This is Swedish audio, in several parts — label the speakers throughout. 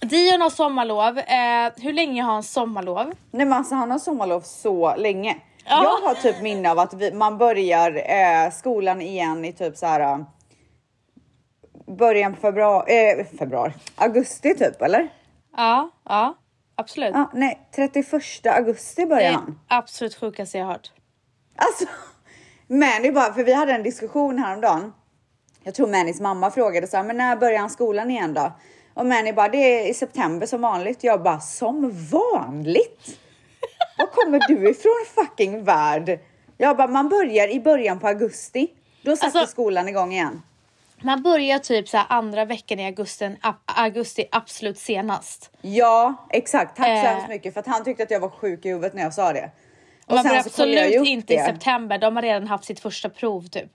Speaker 1: Dion har sommarlov. Eh, hur länge har han sommarlov?
Speaker 2: Nej men alltså han har sommarlov så länge.
Speaker 1: Ja.
Speaker 2: Jag har typ minne av att vi, man börjar eh, skolan igen i typ så här. eh, Början februari, eh, februari, augusti typ eller?
Speaker 1: Ja, ja, absolut.
Speaker 2: Ja, nej, 31 augusti
Speaker 1: det
Speaker 2: börjar
Speaker 1: är
Speaker 2: han.
Speaker 1: absolut sjukaste jag har hört.
Speaker 2: Alltså, men det är bara för vi hade en diskussion häromdagen. Jag tror Mannys mamma frågade så här, men när börjar han skolan igen då? Och Manny bara, det är i september som vanligt. Jag bara, som vanligt? Var kommer du ifrån fucking värld? Jag bara, man börjar i början på augusti. Då sätter
Speaker 1: Alltså-
Speaker 2: skolan igång igen.
Speaker 1: Man börjar typ så här andra veckan i augusti, augusti absolut senast.
Speaker 2: Ja, exakt. Tack
Speaker 1: Eh.
Speaker 2: så hemskt mycket för att han tyckte att jag var sjuk i huvudet när jag sa det. Och
Speaker 1: man
Speaker 2: sen
Speaker 1: börjar
Speaker 2: så kollade jag
Speaker 1: absolut
Speaker 2: ju upp
Speaker 1: inte i
Speaker 2: det.
Speaker 1: september. De har redan haft sitt första prov typ.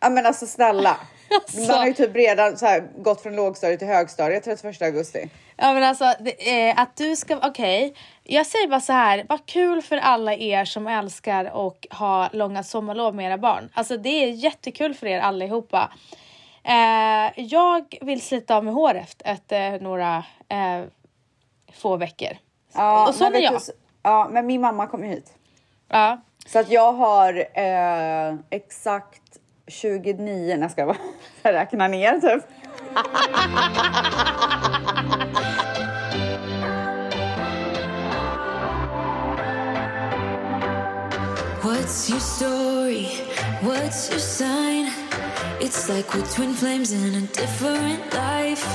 Speaker 2: Ja men alltså snälla. Man
Speaker 1: Alltså.
Speaker 2: har ju typ redan så här, gått från lågstadiet till högstadiet 31 augusti.
Speaker 1: Ja men alltså det, eh, att du ska, okej. Jag säger bara så här, vad kul för alla er som älskar och har långa sommarlov med era barn. Alltså det är jättekul för er allihopa. Eh, jag vill slita av mig hår efter, efter några eh, få veckor.
Speaker 2: Ja,
Speaker 1: och så
Speaker 2: men
Speaker 1: är
Speaker 2: vet
Speaker 1: jag.
Speaker 2: du, så- ja men min mamma kom ju hit.
Speaker 1: Ja.
Speaker 2: Så att jag har eh, exakt 29, när ska jag vara? Jag räknar ner typ.
Speaker 3: What's your story? What's your sign? It's like we're twin flames in a different life.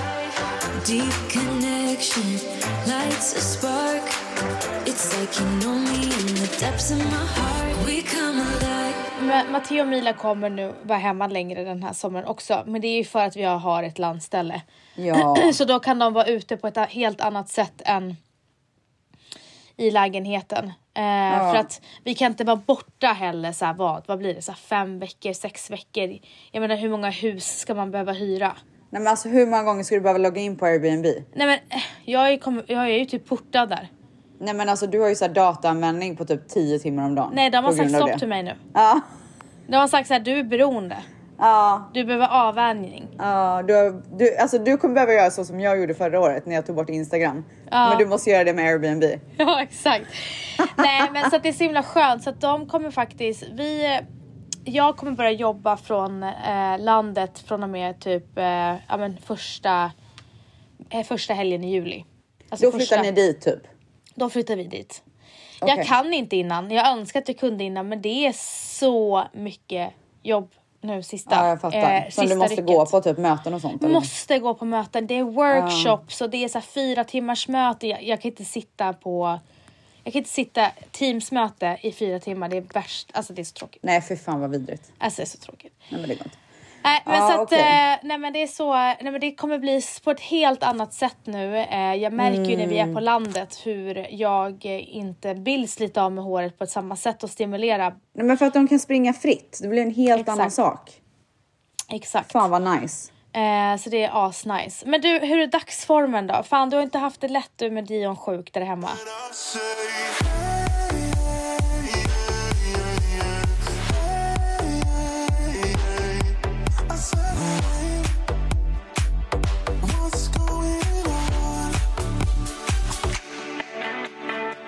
Speaker 3: Deep connection lights a spark. It's like you know me in the depths of my heart. We come alive.
Speaker 1: Men Matteo och Mila kommer nu vara hemma längre den här sommaren också. Men det är ju för att vi har ett landställe.
Speaker 2: Ja,
Speaker 1: Så då kan de vara ute på ett helt annat sätt än i lägenheten. Eh, För att vi kan inte vara borta heller så här, vad, vad blir det, så här, fem veckor, sex veckor. Jag menar hur många hus ska man behöva hyra?
Speaker 2: nej men alltså hur många gånger ska du behöva logga in på Airbnb?
Speaker 1: Nej men eh, jag är, kom, jag är ju typ portad där.
Speaker 2: Nej men alltså du har ju så här dataanvändning på typ 10 timmar om dagen.
Speaker 1: Nej de har
Speaker 2: på grund
Speaker 1: sagt
Speaker 2: av
Speaker 1: stopp
Speaker 2: det.
Speaker 1: till mig nu.
Speaker 2: Ja,
Speaker 1: De har sagt så här, du är beroende.
Speaker 2: ja,
Speaker 1: Du behöver avvänjning.
Speaker 2: ja. Du, har- du, alltså, du kommer behöva göra så som jag gjorde förra året när jag tog bort Instagram. Men du måste göra det med Airbnb.
Speaker 1: Ja exakt. Nej men så att det är så himla skönt så att de kommer faktiskt, vi, jag kommer börja jobba från eh, landet från och med typ eh, ja, men första, eh, första helgen i juli. Alltså
Speaker 2: Då flyttar ni dit typ?
Speaker 1: Då flyttar vi dit.
Speaker 2: Okej.
Speaker 1: Jag kan inte innan, jag önskar att jag kunde innan men det är så mycket jobb nu sista.
Speaker 2: Ja, jag fattar.
Speaker 1: eh,
Speaker 2: Som du
Speaker 1: sista
Speaker 2: måste
Speaker 1: rycket.
Speaker 2: gå på typ möten och sånt? eller?
Speaker 1: Måste gå på möten, det är workshops och det är så här fyra timmars möte. Jag, jag kan inte sitta på... Jag kan inte sitta teamsmöte i fyra timmar, det är värst. Alltså det är så tråkigt.
Speaker 2: Nej, fy fan vad vidrigt.
Speaker 1: Alltså det är så tråkigt.
Speaker 2: Nej, men det går inte.
Speaker 1: Nej men
Speaker 2: Ja,
Speaker 1: så att,
Speaker 2: okej.
Speaker 1: eh, nej men det är så, nej men det kommer bli s- på ett helt annat sätt nu. Eh, jag märker ju när vi
Speaker 2: Mm.
Speaker 1: är på landet hur jag eh, inte vill slita av mig håret på ett samma sätt och stimulera.
Speaker 2: Nej, men för att de kan springa fritt. Det blir en helt
Speaker 1: Exakt.
Speaker 2: annan sak.
Speaker 1: Exakt.
Speaker 2: Fan vad nice.
Speaker 1: Eh, så det är asnice. Men du, hur är dagsformen då? Fan du har inte haft det lätt du med Dion sjuk där hemma.
Speaker 4: What's going on?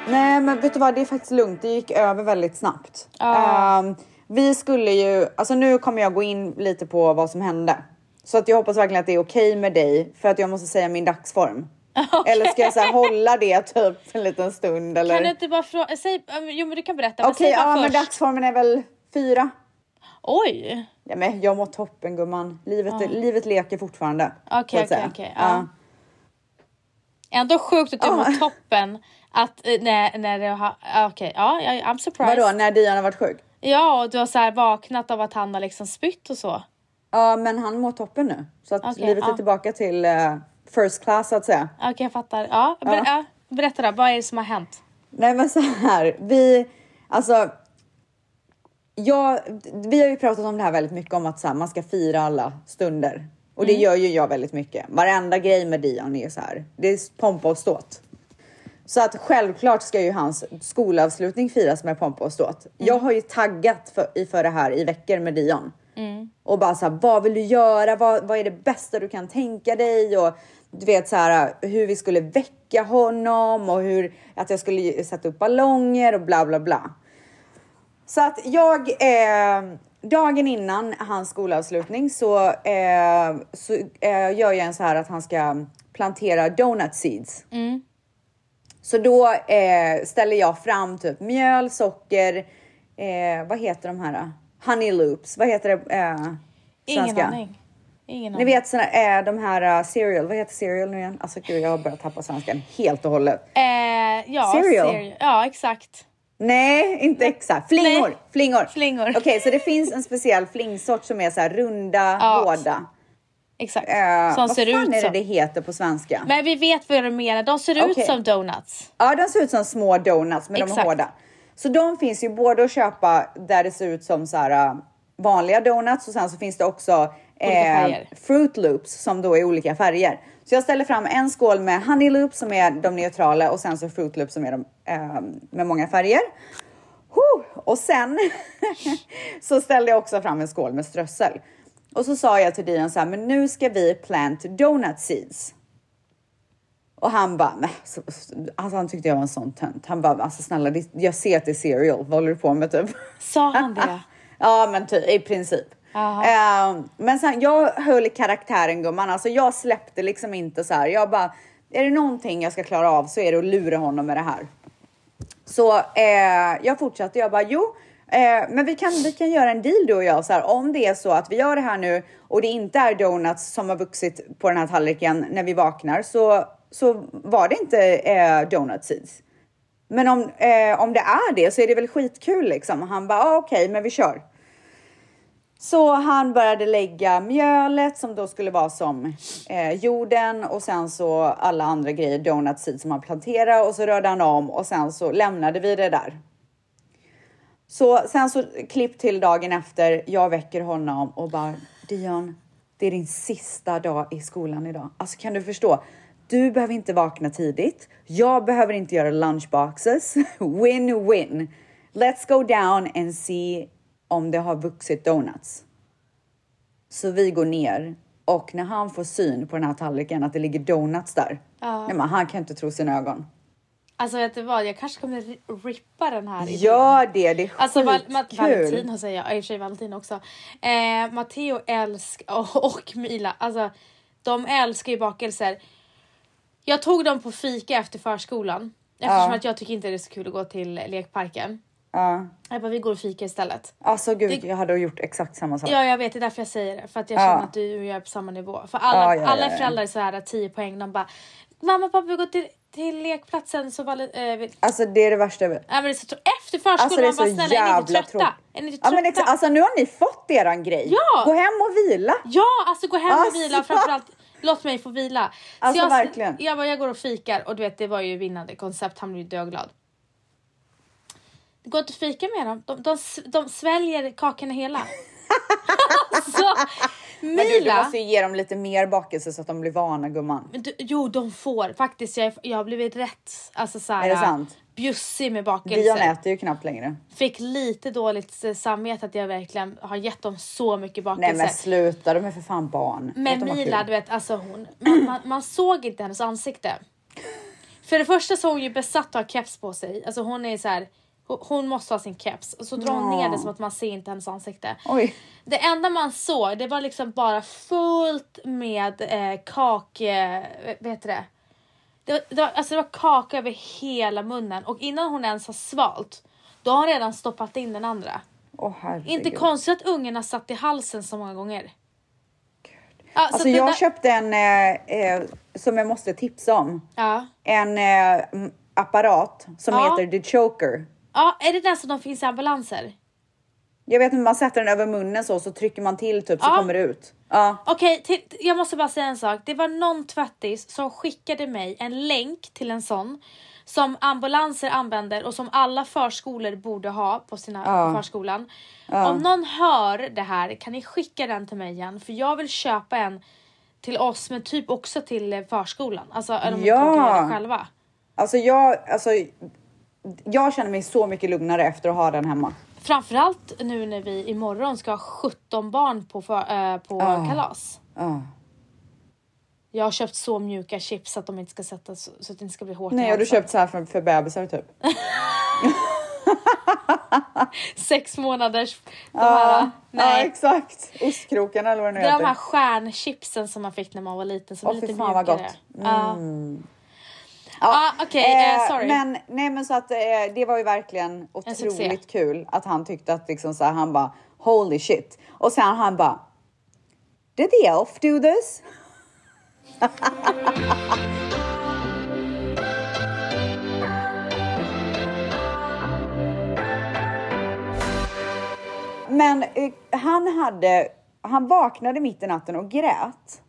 Speaker 2: Nej, men vet du vad? Det är faktiskt lugnt. Det gick över väldigt snabbt. Ehm, vi skulle ju... Alltså nu kommer jag gå in lite på vad som hände. Så att jag hoppas verkligen att det är okej med dig för att jag måste säga min dagsform. Eller ska jag så här, hålla det typ en liten stund? Eller?
Speaker 1: Kan du inte bara fråga? Säg, eh, jo men du kan berätta. men
Speaker 2: Okej,
Speaker 1: säg bara
Speaker 2: ja, men
Speaker 1: först.
Speaker 2: dagsformen är väl fyra.
Speaker 1: Oj!
Speaker 2: Ja, men jag mår toppen gumman. Livet, livet leker fortfarande.
Speaker 1: Okej,
Speaker 2: så att
Speaker 1: okej,
Speaker 2: säga.
Speaker 1: okej.
Speaker 2: Ja.
Speaker 1: ja. Ändå sjukt att du
Speaker 2: Ja.
Speaker 1: mår toppen. Att eh, när, när du har... ja, Okej, ja, jag- I'm surprised.
Speaker 2: Vadå, när Dion har varit sjuk?
Speaker 1: Ja, och du har så här vaknat av att han har liksom spytt och så.
Speaker 2: Ja, men han mår toppen nu. Så att
Speaker 1: Okej,
Speaker 2: livet
Speaker 1: ja.
Speaker 2: är tillbaka till eh, first class så att säga.
Speaker 1: Okej, jag fattar. Ja, ber, ja. berätta då. Vad är det som har hänt?
Speaker 2: Nej men så här, vi, alltså. Jag, vi har ju pratat om det här väldigt mycket om att så här, man ska fira alla stunder. Och
Speaker 1: Mm.
Speaker 2: det gör ju jag väldigt mycket. Varenda grej med Dion är så här, det är pompa och ståt. Så att självklart ska ju hans skolavslutning firas med pompa och ståt. Jag har ju taggat för, i- för det här i veckor med Dion. Och bara så här, vad vill du göra? Vad, vad är det bästa du kan tänka dig? Och du vet så här, hur vi skulle väcka honom och hur att jag skulle ju- sätta upp ballonger och bla bla bla. Så att jag, eh, dagen innan hans skolavslutning så, eh, så eh, gör jag en så här att han ska plantera donut seeds.
Speaker 1: Mm.
Speaker 2: Så då eh, ställer jag fram typ mjöl, socker, eh, vad heter de här? då? Honey loops, vad heter det? Eh,
Speaker 1: Ingen
Speaker 2: svenska?
Speaker 1: aning. Ingen
Speaker 2: Ni
Speaker 1: aning.
Speaker 2: vet såna, eh, de här eh, cereal, vad heter cereal nu igen? Alltså gud, jag har börjat tappa svenskan helt och hållet.
Speaker 1: Eh, ja,
Speaker 2: Cereal.
Speaker 1: cere- Ja, exakt.
Speaker 2: Nej, inte exakt. Flingor!
Speaker 1: Nej.
Speaker 2: Flingor!
Speaker 1: Flingor.
Speaker 2: Okej, så det finns en speciell flingsort som är så här runda,
Speaker 1: Ja.
Speaker 2: hårda.
Speaker 1: Exakt.
Speaker 2: Eh,
Speaker 1: som
Speaker 2: vad
Speaker 1: ser
Speaker 2: fan
Speaker 1: ut
Speaker 2: är
Speaker 1: som.
Speaker 2: det det heter på svenska?
Speaker 1: Men vi vet vad du menar. De ser
Speaker 2: Okej.
Speaker 1: ut som donuts.
Speaker 2: Ja, de ser ut som små donuts, men de är
Speaker 1: Exakt.
Speaker 2: hårda. Så de finns ju både att köpa där det ser ut som så här, äh, vanliga donuts och sen så finns det också
Speaker 1: färger.
Speaker 2: Ehm, fruit loops som då är olika färger. Så jag ställer fram en skål med honey loops som är de neutrala och sen så fruit loops som är de äh, med många färger. Huh! Och sen så ställde jag också fram en skål med strössel. Och så sa jag till Dion så här, men nu ska vi plant donut seeds. Och han bara, "Men, så- så- alltså han tyckte jag var en sån tönt. Han bara, alltså snälla, det- jag ser att det är cereal, vad håller du på med typ?
Speaker 1: Sa han
Speaker 2: ah.
Speaker 1: det?
Speaker 2: ja, men ty, i princip.
Speaker 1: Jaha.
Speaker 2: Ehm, men sen, jag höll karaktären gumman, alltså jag släppte liksom inte så här. Jag bara, är det någonting jag ska klara av så är det att lura honom med det här. Så eh, jag fortsatte. Jag bara, jo, eh, men vi kan, vi kan göra en deal du och jag. Så här, om det är så att vi gör det här nu och det inte är donuts som har vuxit på den här tallriken när vi vaknar så, så var det inte eh, donut seeds. Men om, eh, om det är det så är det väl skitkul liksom. Och Han bara, ah, okej, men vi kör. Så han började lägga mjölet som då skulle vara som eh, jorden och sen så alla andra grejer, donut seed som han planterade och så rörde han om och sen så lämnade vi det där. Så sen så klipp till dagen efter. Jag väcker honom och bara Dion, det är din sista dag i skolan idag. Alltså kan du förstå? Du behöver inte vakna tidigt. Jag behöver inte göra lunchboxes. Win-win. Let's go down and see om det har vuxit donuts. Så vi går ner och när han får syn på den här tallriken att det ligger donuts där. Nej, men han kan inte tro sina ögon.
Speaker 1: Alltså vet du vad, jag kanske kommer ri- rippa den här idén.
Speaker 2: Gör det, det är
Speaker 1: Alltså Val- Ma-
Speaker 2: skitkul.
Speaker 1: Valentino säger jag, Ja, i och för sig Valentino också. Eh, Matteo älsk och, och Mila, alltså de älskar ju bakelser. Jag tog dem på fika efter förskolan eftersom att jag tycker inte det är så kul att gå till lekparken.
Speaker 2: Ja.
Speaker 1: Jag bara, vi går och fika istället.
Speaker 2: Alltså gud, jag hade gjort exakt samma sak.
Speaker 1: Ja, jag vet. Det är därför jag säger det. För att jag
Speaker 2: Ja.
Speaker 1: känner att du och jag är på samma nivå. För alla,
Speaker 2: Ja, ja, ja,
Speaker 1: alla
Speaker 2: ja.
Speaker 1: föräldrar är så här 10 poäng. De bara, mamma och pappa vi går till, till lekplatsen. Så vale, eh, vi,
Speaker 2: Alltså det är det värsta jag vet.
Speaker 1: Nej, men det är så tro- efter förskolan,
Speaker 2: Alltså det är
Speaker 1: man
Speaker 2: så
Speaker 1: bara snälla är ni inte
Speaker 2: jävla
Speaker 1: trötta?
Speaker 2: tråkigt.
Speaker 1: Är ni inte
Speaker 2: Ja,
Speaker 1: trötta?
Speaker 2: men exa- alltså nu har ni fått eran grej.
Speaker 1: Ja!
Speaker 2: Gå hem och vila.
Speaker 1: Ja, alltså gå hem och
Speaker 2: Alltså.
Speaker 1: vila. Framförallt låt mig få vila. Så
Speaker 2: Alltså,
Speaker 1: jag,
Speaker 2: verkligen.
Speaker 1: Jag, bara, jag går och fikar och du vet det var ju vinnande koncept. Han blev ju döglad. Det går inte att fika med dem. De, de, s- de sväljer kakorna hela. alltså, Mila.
Speaker 2: Men du, du måste ju ge dem lite mer bakelse så att de blir vana gumman.
Speaker 1: Men du, jo, de får faktiskt. Jag, jag har blivit rätt alltså, så här,
Speaker 2: Är det sant?
Speaker 1: bjussig med
Speaker 2: Dion
Speaker 1: bakelser.
Speaker 2: äter ju knappt längre.
Speaker 1: Fick lite dåligt eh, samvete att jag verkligen har gett dem så mycket
Speaker 2: Nej
Speaker 1: bakelser.
Speaker 2: men sluta, de är för fan barn.
Speaker 1: Men
Speaker 2: Låt dem ha
Speaker 1: Mila,
Speaker 2: kul.
Speaker 1: du vet, alltså hon, man, man, man såg inte hennes ansikte. För det första så är hon ju besatt av keps på sig. Alltså hon är så här, hon- hon måste ha sin keps. Och så drar hon ner det som att man ser inte hennes ansikte.
Speaker 2: Oj.
Speaker 1: Det enda man såg, det var liksom bara fullt med eh, kak... Eh, vet du det? Det, var- det, var, alltså det var kaka över hela munnen och innan hon ens har svalt, då har hon redan stoppat in den andra.
Speaker 2: Åh herregud.
Speaker 1: Inte konstigt att ungen har satt i halsen så många gånger. Ja, så
Speaker 2: Alltså
Speaker 1: att det
Speaker 2: jag
Speaker 1: där-
Speaker 2: köpte en eh, eh, som jag måste tipsa om.
Speaker 1: Ja.
Speaker 2: En eh, m- apparat som
Speaker 1: Ja.
Speaker 2: heter The Choker.
Speaker 1: ja, är det den som de finns i ambulanser?
Speaker 2: Jag vet inte, man sätter den över munnen så, så trycker man till typ så
Speaker 1: Ja.
Speaker 2: kommer det ut. Ja.
Speaker 1: Okej, till- till- jag måste bara säga en sak. Det var någon tvättis som skickade mig en länk till en sån som ambulanser använder och som alla förskolor borde ha på sina på förskolan. Om någon hör det här kan ni skicka den till mig igen för jag vill köpa en till oss men typ också till eh, förskolan. Alltså om de
Speaker 2: Ja.
Speaker 1: inte orkar göra det själva.
Speaker 2: Alltså jag, alltså, jag känner mig så mycket lugnare efter att ha den hemma.
Speaker 1: Framförallt nu när vi imorgon ska ha 17 barn på, för, eh, på kalas.
Speaker 2: Ah.
Speaker 1: Jag har köpt så mjuka chips att de inte ska sätta så, så att det inte ska bli hårt. i
Speaker 2: Nej, har du
Speaker 1: halsen.
Speaker 2: köpt så här för, för bebisar typ?
Speaker 1: Sex månaders... De här,
Speaker 2: Ja, ja,
Speaker 1: nej.
Speaker 2: exakt. Ostkrokarna eller vad det
Speaker 1: det
Speaker 2: nu
Speaker 1: är
Speaker 2: heter.
Speaker 1: de här stjärnchipsen som man fick när man var liten som
Speaker 2: Åh,
Speaker 1: är
Speaker 2: fy
Speaker 1: lite
Speaker 2: fan vad
Speaker 1: mjukare.
Speaker 2: gott.
Speaker 1: Ja.
Speaker 2: Mm. Ja,
Speaker 1: Ah, okej, eh,
Speaker 2: eh,
Speaker 1: sorry.
Speaker 2: Men, nej, men så att eh, det var ju verkligen
Speaker 1: succé.
Speaker 2: otroligt kul att han tyckte att liksom så här, han bara holy shit. Och sen han bara Did the elf do this? Men eh, han hade, han vaknade mitt i natten och grät.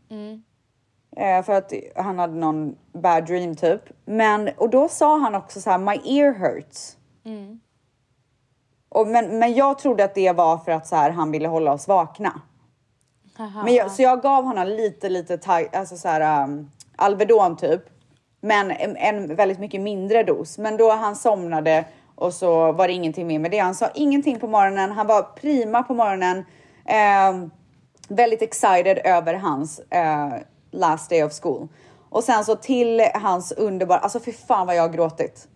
Speaker 2: Eh, för att han hade någon bad dream typ. Men, och då sa han också så här, my ear hurts. Och, men, men jag trodde att det var för att så här, han ville hålla oss vakna.
Speaker 1: Aha.
Speaker 2: Men jag, så jag gav honom lite, lite taj- alltså så här, um, Alvedon typ. Men en, en väldigt mycket mindre dos. Men då han somnade och så var det ingenting mer med det. Han sa ingenting på morgonen. Han var prima på morgonen. Ehm, väldigt excited över hans eh, last day of school. Och sen så till hans underbara, alltså för fan vad jag har gråtit.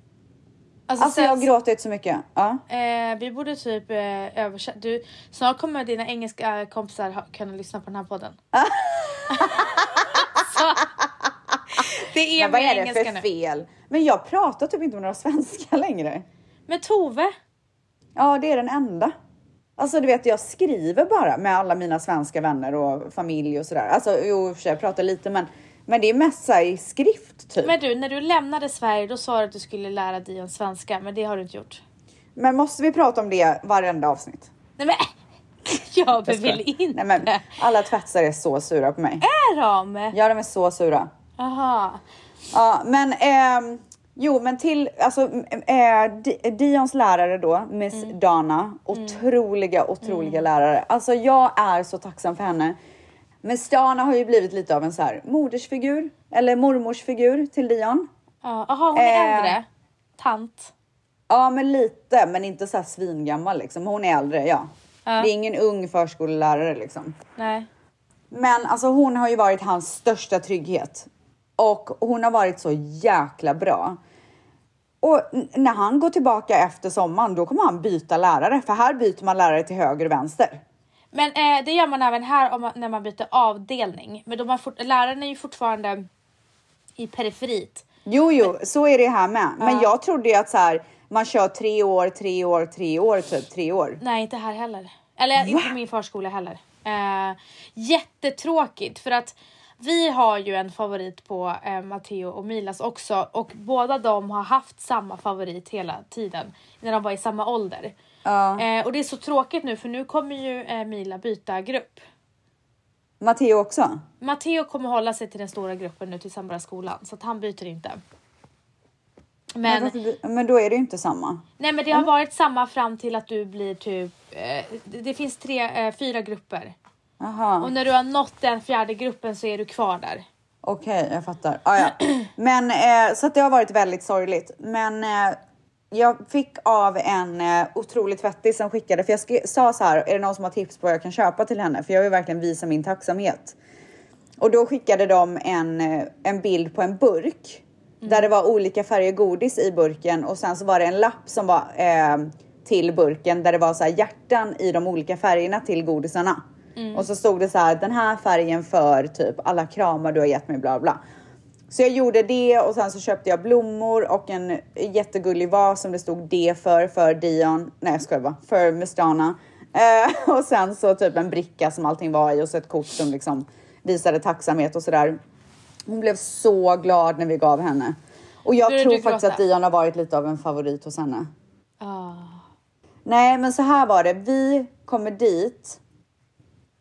Speaker 1: Alltså,
Speaker 2: Alltså jag har
Speaker 1: sen,
Speaker 2: gråtit så mycket. Ja.
Speaker 1: eh, vi borde typ eh, översätta. Du, snart kommer dina engelska kompisar ha, kunna lyssna på den här podden. Så, det är
Speaker 2: Men vad
Speaker 1: mer
Speaker 2: är det
Speaker 1: engelska
Speaker 2: för
Speaker 1: nu.
Speaker 2: fel? Men jag pratar typ inte med några svenskar längre.
Speaker 1: Men Tove,
Speaker 2: Ja, det är den enda. Alltså du vet, jag skriver bara med alla mina svenska vänner och familj och sådär. Alltså jo, i och för sig, jag pratar lite men, men det är mest så här i skrift typ. Men,
Speaker 1: men du, när du lämnade Sverige då sa du att du skulle lära Dion svenska, men det har du inte gjort.
Speaker 2: måste vi prata om det varenda avsnitt?
Speaker 1: Nej men, jag
Speaker 2: Jag skojar.
Speaker 1: vill inte.
Speaker 2: Nej men alla tvättisar är så sura på mig.
Speaker 1: Är de?
Speaker 2: Ja, de är så sura.
Speaker 1: Jaha.
Speaker 2: Ja, men ehm, jo, men till alltså eh, Di- Dions lärare då, Miss Dana, otroliga, otroliga lärare. Alltså jag är så tacksam för henne. Miss Dana har ju blivit lite av en så här modersfigur eller mormorsfigur till Dion.
Speaker 1: Ja, Jaha, hon är
Speaker 2: Eh.
Speaker 1: äldre. Tant.
Speaker 2: Ja, men lite, men inte så här svingammal liksom. Hon är äldre, ja. Det är ingen ung förskollärare liksom.
Speaker 1: Nej.
Speaker 2: Men alltså hon har ju varit hans största trygghet. Och hon har varit så jäkla bra. Och n- när han går tillbaka efter sommaren, då kommer han byta lärare. För här byter man lärare till höger och vänster.
Speaker 1: Men eh, det gör man även här om man, när man byter avdelning. Men då man fort, läraren är ju fortfarande i periferiet.
Speaker 2: Jo, jo, så är det här med. Men jag trodde ju att så här, man kör tre år, tre år, tre år, typ tre år.
Speaker 1: Nej, inte här heller. Eller inte på min förskola heller. Eh, jättetråkigt för att vi har ju en favorit på eh, Matteo och Milas också och båda de har haft samma favorit hela tiden när de var i samma ålder.
Speaker 2: Ja.
Speaker 1: Eh, och det är så tråkigt nu för nu kommer ju eh, Mila byta grupp.
Speaker 2: Matteo också?
Speaker 1: Matteo kommer hålla sig till den stora gruppen nu tills han börjar skolan så att han byter inte. Men,
Speaker 2: Men, varför- men då är det ju inte samma.
Speaker 1: nej men det har varit samma fram till att du blir typ, eh, det det finns tre, eh, fyra grupper.
Speaker 2: Aha.
Speaker 1: Och när du har nått den fjärde gruppen så är du kvar där.
Speaker 2: Okej, jag fattar. Ah, ja. Men, eh, så att det har varit väldigt sorgligt. Men eh, jag fick av en eh, otrolig tvättis som skickade, för jag skri- sa så här, är det någon som har tips på vad jag kan köpa till henne? För jag vill verkligen visa min tacksamhet. Och då skickade de en, eh, en bild på en burk där det var olika färger godis i burken och sen så var det en lapp som var eh, till burken där det var så här hjärtan i de olika färgerna till godisarna. Och så stod det så här den här färgen för typ alla kramar du har gett mig bla bla. Så jag gjorde det och sen så köpte jag blommor och en jättegullig vas som det stod D för, för Dion. Nej jag skojar bara, för Mustana. Eh, och sen så typ en bricka som allting var i och så ett kort som liksom visade tacksamhet och sådär. Hon blev så glad när vi gav henne. Och jag
Speaker 1: Började
Speaker 2: tror
Speaker 1: du
Speaker 2: faktiskt
Speaker 1: gråta?
Speaker 2: att Dion har varit lite av en favorit hos henne.
Speaker 1: Ah.
Speaker 2: Nej, men så här var det. Vi kommer dit,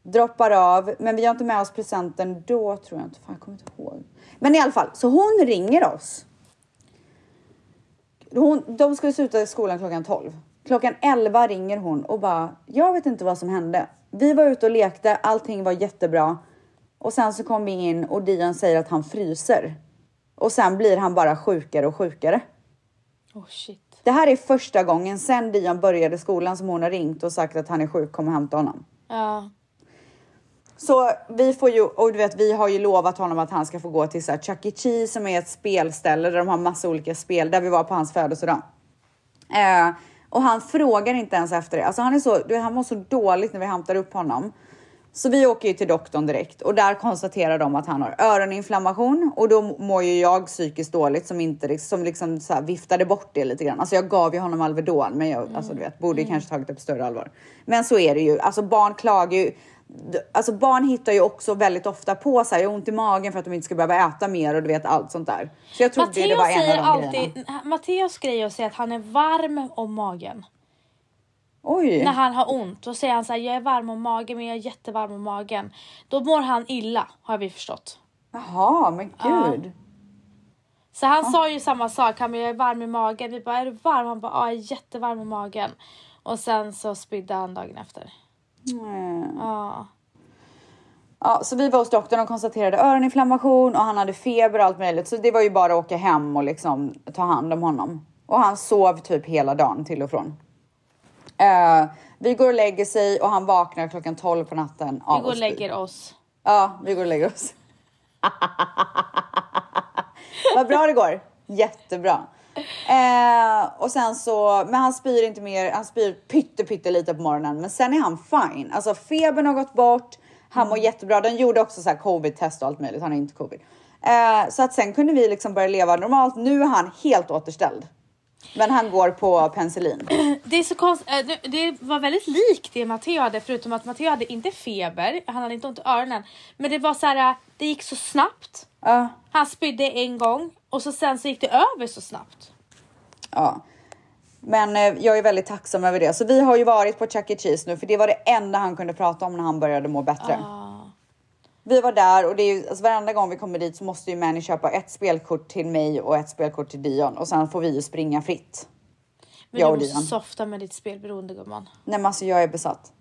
Speaker 2: droppar av, men vi har inte med oss presenten då tror jag inte. Fan, jag kommer inte ihåg. Men i alla fall, så hon ringer oss. Hon, de skulle sluta skolan klockan 12. Klockan 11 ringer hon och bara, jag vet inte vad som hände. Vi var ute och lekte, allting var jättebra. Och sen så kom vi in och Dion säger att han fryser. Och sen blir han bara sjukare och sjukare.
Speaker 1: Oh shit.
Speaker 2: Det här är första gången sen Dion började skolan som hon har ringt och sagt att han är sjuk, kom och hämta honom.
Speaker 1: Ja.
Speaker 2: Så vi får ju, och du vet, vi har ju lovat honom att han ska få gå till så här Chuck E. Cheese som är ett spelställe där de har massa olika spel, där vi var på hans födelsedag. Eh, och han frågar inte ens efter det. Alltså han, är så, du, vet, han mår så dåligt när vi hämtar upp honom. Så vi åker ju till doktorn direkt och där konstaterar de att han har öroninflammation och då mår ju jag psykiskt dåligt som, inte, som liksom så här viftade bort det lite grann. Alltså jag gav ju honom Alvedon men jag alltså du vet, borde
Speaker 1: Mm.
Speaker 2: ju kanske tagit det på större allvar. Men så är det ju. Alltså barn klagar ju. d- Alltså barn hittar ju också väldigt ofta på så här, jag har ont i magen för att de inte ska behöva äta mer och du vet allt sånt där. Så jag trodde ju det
Speaker 1: Matteo
Speaker 2: var en
Speaker 1: säger
Speaker 2: av de grejerna.
Speaker 1: alltid, Matteos grej är att säga att han är varm om magen.
Speaker 2: Oj!
Speaker 1: När han har ont, då säger han så här, jag är varm om magen men jag är jättevarm om magen. Då mår han illa, har vi förstått.
Speaker 2: Jaha, men gud.
Speaker 1: Så han sa ju samma sak, han bara, jag är varm i magen. Vi bara, är du varm? Han bara, ja jag är jättevarm i magen. Och sen så spydde han dagen efter.
Speaker 2: Mm.
Speaker 1: Ja.
Speaker 2: Ja, så vi var hos doktorn och konstaterade öroninflammation och han hade feber och allt möjligt. Så det var ju bara att åka hem och liksom ta hand om honom. Och han sov typ hela dagen till och från. Eh, vi går och lägger sig och han vaknar klockan 12 på natten av
Speaker 1: Vi går och
Speaker 2: spy.
Speaker 1: lägger oss.
Speaker 2: Ja, vi går och lägger oss. Vad bra det går. Jättebra. Eh, och sen så, men han spyr inte mer, han spyr pytte, pytte lite på morgonen, men sen är han fine. Alltså febern har gått bort, han mår jättebra. Den gjorde också så här covid-test och allt möjligt, han har inte covid. Eh, så att sen kunde vi liksom börja leva normalt. Nu är han helt återställd. Men han går på penicillin.
Speaker 1: Det, är så konst... eh, det- det var väldigt likt det Matteo hade förutom att Matteo hade inte feber, han hade inte ont i öronen. Men det var så här, eh, det gick så snabbt.
Speaker 2: Ja.
Speaker 1: Han spydde en gång och så sen så gick det över så snabbt.
Speaker 2: Ja. Men eh, jag är väldigt tacksam över det. Så vi har ju varit på Chuck E. Cheese nu för det var det enda han kunde prata om när han började må bättre.
Speaker 1: Ah.
Speaker 2: Vi var där och det är ju, alltså varenda gång vi kommer dit så måste ju Manny köpa ett spelkort till mig och ett spelkort till Dion och sen får vi ju springa fritt.
Speaker 1: Men
Speaker 2: Ja,
Speaker 1: du
Speaker 2: och
Speaker 1: måste
Speaker 2: Dion.
Speaker 1: softa med ditt spelberoende gumman.
Speaker 2: Nej men alltså jag är besatt.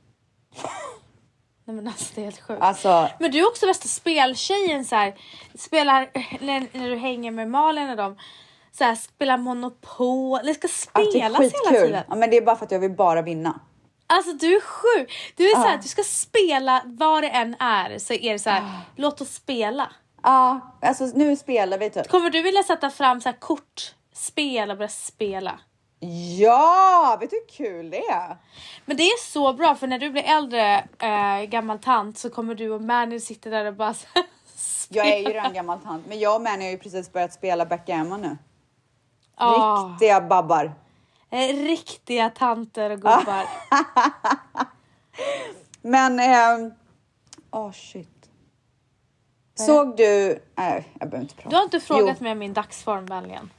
Speaker 1: Nej men alltså det är helt sjukt.
Speaker 2: Alltså
Speaker 1: Men du är också värsta speltjejen så här. Spelar när, när du hänger med Malin och dem. Så här, spelar Monopol. Det ska
Speaker 2: att det är
Speaker 1: spelas hela
Speaker 2: skitkul.
Speaker 1: tiden.
Speaker 2: Ja, men det är bara för att jag vill bara vinna.
Speaker 1: Alltså du är sjuk. Du är så här, du ska spela vad det än är. Så är det så här,
Speaker 2: Ah.
Speaker 1: låt oss spela.
Speaker 2: Ja, alltså nu spelar vi typ.
Speaker 1: Kommer du vilja sätta fram så här kortspel och börja spela?
Speaker 2: Ja, vet du hur kul det är?
Speaker 1: Men det är så bra för när du blir äldre eh, gammal tant så kommer du och Manu sitta där och bara så här
Speaker 2: Jag är ju redan gammal tant, men jag och Manny har ju precis börjat spela backgammon nu.
Speaker 1: Ah,
Speaker 2: Riktiga babbar.
Speaker 1: eh, riktiga tanter och
Speaker 2: Ah.
Speaker 1: gubbar.
Speaker 2: Men... ehm, Åh, shit. Såg du... Nej, jag behöver inte prata.
Speaker 1: Du har inte frågat
Speaker 2: Jo.
Speaker 1: mig om min dagsform vänligen.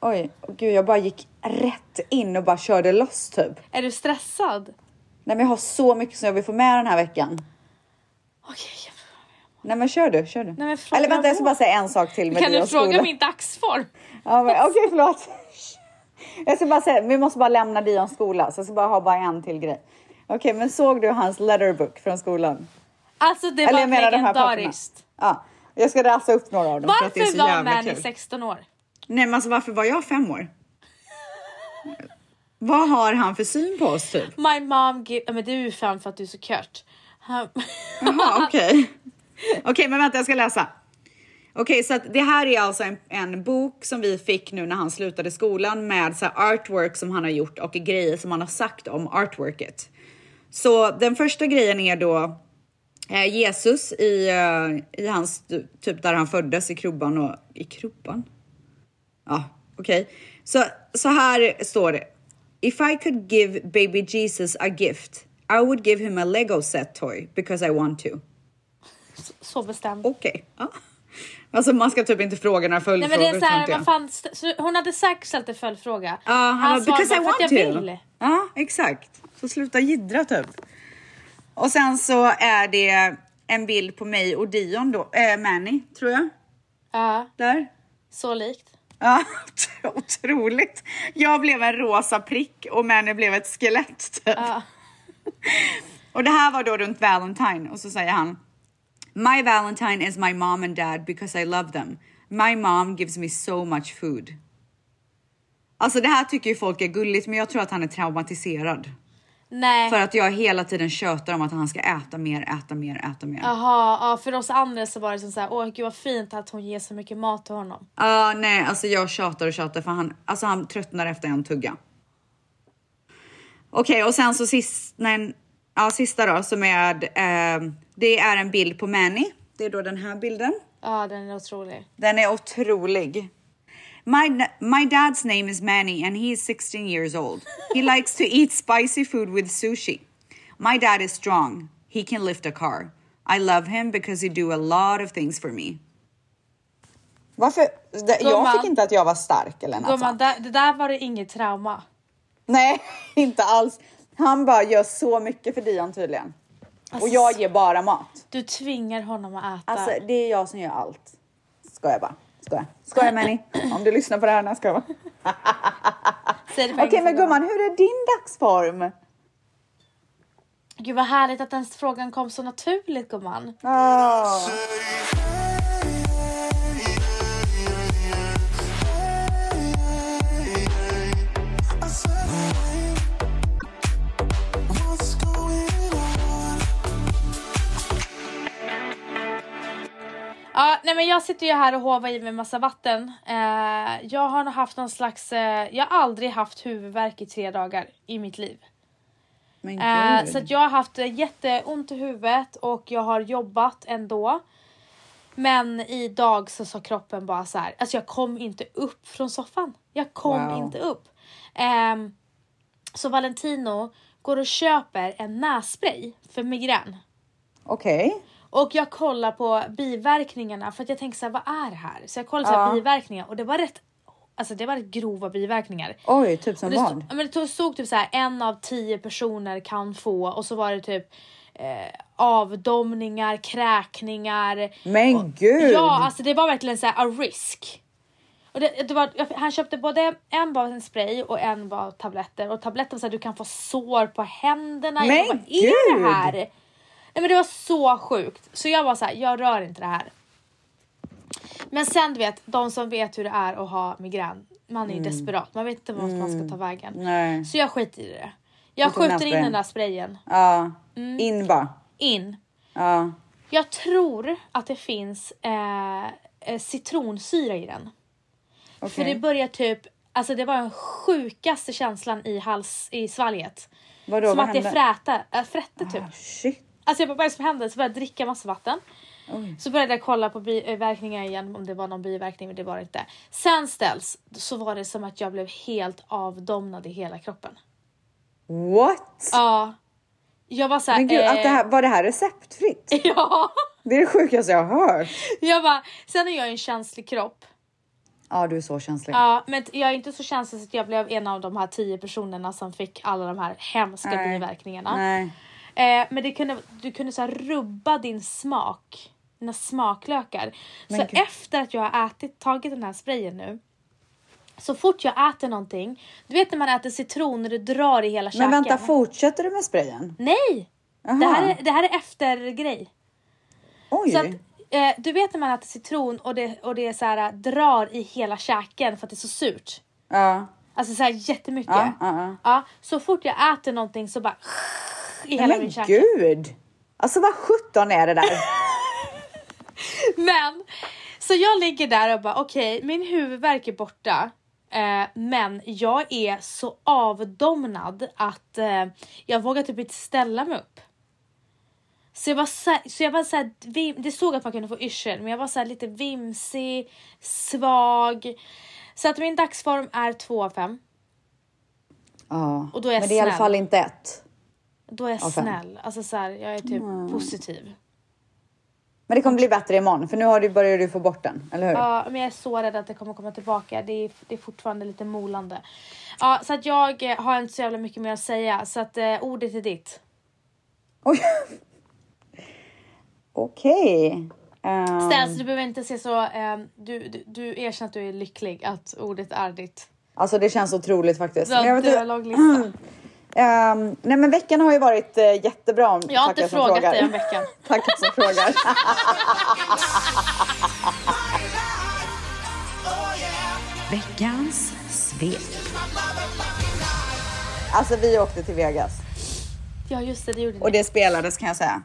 Speaker 2: Oj, åh, gud, jag bara gick rätt in och bara körde loss typ.
Speaker 1: Är du stressad?
Speaker 2: Nej, men jag har så mycket som jag vill få med den här veckan.
Speaker 1: Okej.
Speaker 2: Nej, men kör du, kör du.
Speaker 1: men fråga
Speaker 2: Eller vänta, jag ska
Speaker 1: då.
Speaker 2: bara säga en sak till med
Speaker 1: Kan
Speaker 2: det
Speaker 1: du
Speaker 2: och
Speaker 1: fråga
Speaker 2: skolan.
Speaker 1: min dagsform?
Speaker 2: Ja, men, Okej, förlåt. Jag ska bara säga, vi måste bara lämna Dions skola, så jag ska bara ha bara en till grej. Okej, men såg du hans letterbook från skolan?
Speaker 1: Alltså det
Speaker 2: Eller
Speaker 1: var
Speaker 2: jag menar de här papperna.
Speaker 1: legendariskt.
Speaker 2: Ja, jag ska läsa upp några av dem. för att det är
Speaker 1: Varför
Speaker 2: så
Speaker 1: var
Speaker 2: jävla
Speaker 1: Mani
Speaker 2: kul.
Speaker 1: 16 år?
Speaker 2: Nej men alltså varför var jag fem år? Vad har han för syn på oss typ?
Speaker 1: My mom give... Ja, men du är fan för att du är så kört. Han-
Speaker 2: Jaha okej. Okej men vänta jag ska läsa. Okej så att det här är alltså en, en bok som vi fick nu när han slutade skolan med så här artwork som han har gjort och grejer som han har sagt om artworket. Så den första grejen är då eh, Jesus i, eh, i hans, typ där han föddes i krubban och i krubban? Ja, okej. Så, så här står det. If I could give baby Jesus a gift I would give him a Lego set toy because I want to.
Speaker 1: så bestämd.
Speaker 2: Okej. Ja. Alltså man ska typ inte fråga några
Speaker 1: Nej
Speaker 2: följdfrågor.
Speaker 1: men det är såhär,
Speaker 2: tänkte jag.
Speaker 1: vad fan, st- så hon hade säkert ställt en följdfråga.
Speaker 2: Ja, han, bara,
Speaker 1: svarade
Speaker 2: because I
Speaker 1: bara,
Speaker 2: want
Speaker 1: för att jag
Speaker 2: to.
Speaker 1: vill.
Speaker 2: Ja, exakt. Så sluta jiddra typ. Och sen så är det en bild på mig och Dion då, eh, Manny tror jag,
Speaker 1: Ja,
Speaker 2: där.
Speaker 1: så likt.
Speaker 2: Ja, otroligt. Jag blev en rosa prick och Manny blev ett skelett typ.
Speaker 1: Ja.
Speaker 2: Och det här var då runt Valentine och så säger han My Valentine is my mom and dad because I love them. My mom gives me so much food. Alltså det här tycker ju folk är gulligt men jag tror att han är traumatiserad.
Speaker 1: Nej.
Speaker 2: För att jag hela tiden tjötar om att han ska äta mer, äta mer, äta mer. Ja,
Speaker 1: Jaha, ja, för oss andra så var det som så här, åh gud vad fint att hon ger så mycket mat till honom.
Speaker 2: nej, alltså jag tjatar och tjatar för han, alltså han tröttnar efter en tugga. Okej, och sen så sist, nej, ja, sista då som är, eh, det är en bild på Manny. Det är då den här bilden.
Speaker 1: Ja, den är otrolig.
Speaker 2: Den är otrolig. My, my dad's name is Manny and he is 16 years old. He likes to eat spicy food with sushi. My dad is strong. He can lift a car. I love him because he do a lot of things for me. Varför? Det, jag
Speaker 1: Gumman.
Speaker 2: fick inte att jag var stark eller något.
Speaker 1: Gumman, där- det där var det inget trauma.
Speaker 2: Nej, inte alls. Han bara gör så mycket för Dion tydligen.
Speaker 1: Alltså,
Speaker 2: Och jag ger bara mat.
Speaker 1: Du tvingar honom att äta.
Speaker 2: Alltså det är jag som gör allt. Ska jag bara. Ska jag. Ska jag Manny? Om du lyssnar på det här när ska jag vara.
Speaker 1: Säg det på
Speaker 2: Okej
Speaker 1: engelska,
Speaker 2: men gumman, hur är din dagsform?
Speaker 1: Gud vad härligt att den frågan kom så naturligt gumman.
Speaker 2: Ah.
Speaker 4: What's going on?
Speaker 1: Ja, nej men jag sitter ju här och hovar i mig massa vatten. Eh, jag har nog haft någon slags, eh, jag har aldrig haft huvudvärk i tre dagar i mitt liv.
Speaker 2: Men
Speaker 1: Eh,
Speaker 2: gud.
Speaker 1: så att jag har haft eh, jätteont i huvudet och jag har jobbat ändå. Men idag så sa kroppen bara så här, alltså jag kom inte upp från soffan. Jag kom
Speaker 2: Wow.
Speaker 1: inte upp. Ehm, så Valentino går och köper en nässpray för migrän.
Speaker 2: Okej.
Speaker 1: Och jag kollar på biverkningarna för att jag tänker så här, vad är det här? Så jag kollar så här,
Speaker 2: Ja.
Speaker 1: biverkningar och det var rätt, alltså det var rätt grova biverkningar.
Speaker 2: Oj, typ
Speaker 1: Och
Speaker 2: som
Speaker 1: det, stod,
Speaker 2: barn.
Speaker 1: ja, men det tog- stod typ så här en av tio personer kan få och så var det typ eh, avdomningar, kräkningar.
Speaker 2: Men gud!
Speaker 1: Ja, alltså det var verkligen så här a risk. Och det, det var, han köpte både en var en spray och en var tabletter och tabletten var så här, du kan få sår på händerna.
Speaker 2: Men
Speaker 1: jag bara, vad är
Speaker 2: gud!
Speaker 1: det här? Nej men det var så sjukt. Så jag var så här, jag rör inte det här. Men sen du vet, de som vet hur det är att ha migrän, man
Speaker 2: Mm.
Speaker 1: är ju desperat. Man vet inte vart man ska ta vägen.
Speaker 2: Nej.
Speaker 1: Så jag skiter i det. Jag
Speaker 2: Du tog
Speaker 1: skjuter in
Speaker 2: nässprayen.
Speaker 1: den där sprayen.
Speaker 2: Ja.
Speaker 1: Mm.
Speaker 2: In bara.
Speaker 1: In.
Speaker 2: Ja.
Speaker 1: Jag tror att det finns eh, eh, citronsyra i den. För
Speaker 2: Okej.
Speaker 1: det börjar typ, alltså det var den sjukaste känslan i hals, i svalget.
Speaker 2: Vadå,
Speaker 1: som
Speaker 2: vad
Speaker 1: att det
Speaker 2: hände?
Speaker 1: fräte, äh, frätte typ.
Speaker 2: Ah, shit.
Speaker 1: Alltså jag bara, vad är det som händer? Så började jag dricka massa vatten. Så började jag kolla på biverkningar igen om det var någon biverkning men det var det inte. Sen ställs så var det som att jag blev helt avdomnad i hela kroppen.
Speaker 2: What?
Speaker 1: Ja. Jag var såhär...
Speaker 2: Men gud, att det här, var det här receptfritt?
Speaker 1: Ja!
Speaker 2: Det är det sjukaste jag har hört.
Speaker 1: Jag bara, sen är jag en känslig kropp.
Speaker 2: Ja, du är så känslig.
Speaker 1: Ja, men t- jag är inte så känslig så att jag blev en av de här tio personerna som fick alla de här hemska
Speaker 2: Nej.
Speaker 1: biverkningarna.
Speaker 2: Nej.
Speaker 1: Eh, men det kunde, du kunde så här rubba din smak, dina smaklökar. så
Speaker 2: Men gud.
Speaker 1: efter att jag har ätit, tagit den här sprayen nu, så fort jag äter någonting, du vet när man äter citron och det drar i hela
Speaker 2: Men
Speaker 1: käken?
Speaker 2: vänta, fortsätter du med sprayen?
Speaker 1: Nej!
Speaker 2: Aha.
Speaker 1: Det här, är, det här är efter grej.
Speaker 2: Oj.
Speaker 1: Så att, eh, du vet när man äter citron och det, och det är så här, eh, drar i hela käken för att det är så surt.
Speaker 2: Ja.
Speaker 1: Alltså så här jättemycket.
Speaker 2: Ja, ja, ja.
Speaker 1: så fort jag äter någonting så bara i hela
Speaker 2: Men
Speaker 1: min käke.
Speaker 2: gud! Alltså vad sjutton är det där?
Speaker 1: Men så jag ligger där och bara okej, min huvudvärk är borta. Eh, men jag är så avdomnad att eh, jag vågar typ inte ställa mig upp. Så jag var så, här- så jag var så här, vim, det såg att man kunde få yrsel, men jag var så här lite vimsig, svag. Så att min dagsform är 2 av 5.
Speaker 2: Ja.
Speaker 1: Och då är jag
Speaker 2: Men det är i alla
Speaker 1: snäll.
Speaker 2: fall inte ett.
Speaker 1: Då är jag
Speaker 2: Av fem. Mm.
Speaker 1: snäll. Alltså så här, jag är typ positiv.
Speaker 2: Men det kommer bli bättre imorgon för nu har du, börjar du få bort den, eller hur?
Speaker 1: Ja, men jag är så rädd att det kommer komma tillbaka. Det är, det är fortfarande lite molande. Ja, så att jag eh, har inte så jävla mycket mer att säga. Så att eh, ordet är ditt.
Speaker 2: Oj. Okej. Ehm,
Speaker 1: Ställ, så du behöver inte se så... Eh, du, du, du erkänner att du är lycklig att ordet är ditt.
Speaker 2: alltså det känns otroligt faktiskt.
Speaker 1: Du har
Speaker 2: Men jag
Speaker 1: en
Speaker 2: vet inte-
Speaker 1: dödlag lista.
Speaker 2: Ehm, nej men veckan har ju varit eh, jättebra. om-
Speaker 1: Jag har
Speaker 2: tackar
Speaker 1: inte
Speaker 2: som
Speaker 1: frågat
Speaker 2: frågar.
Speaker 1: dig om veckan.
Speaker 2: Tackar som frågar.
Speaker 5: Veckans svep.
Speaker 2: Alltså vi åkte till Vegas.
Speaker 1: Ja, just det, det gjorde
Speaker 2: Och
Speaker 1: ni.
Speaker 2: det spelades kan jag säga.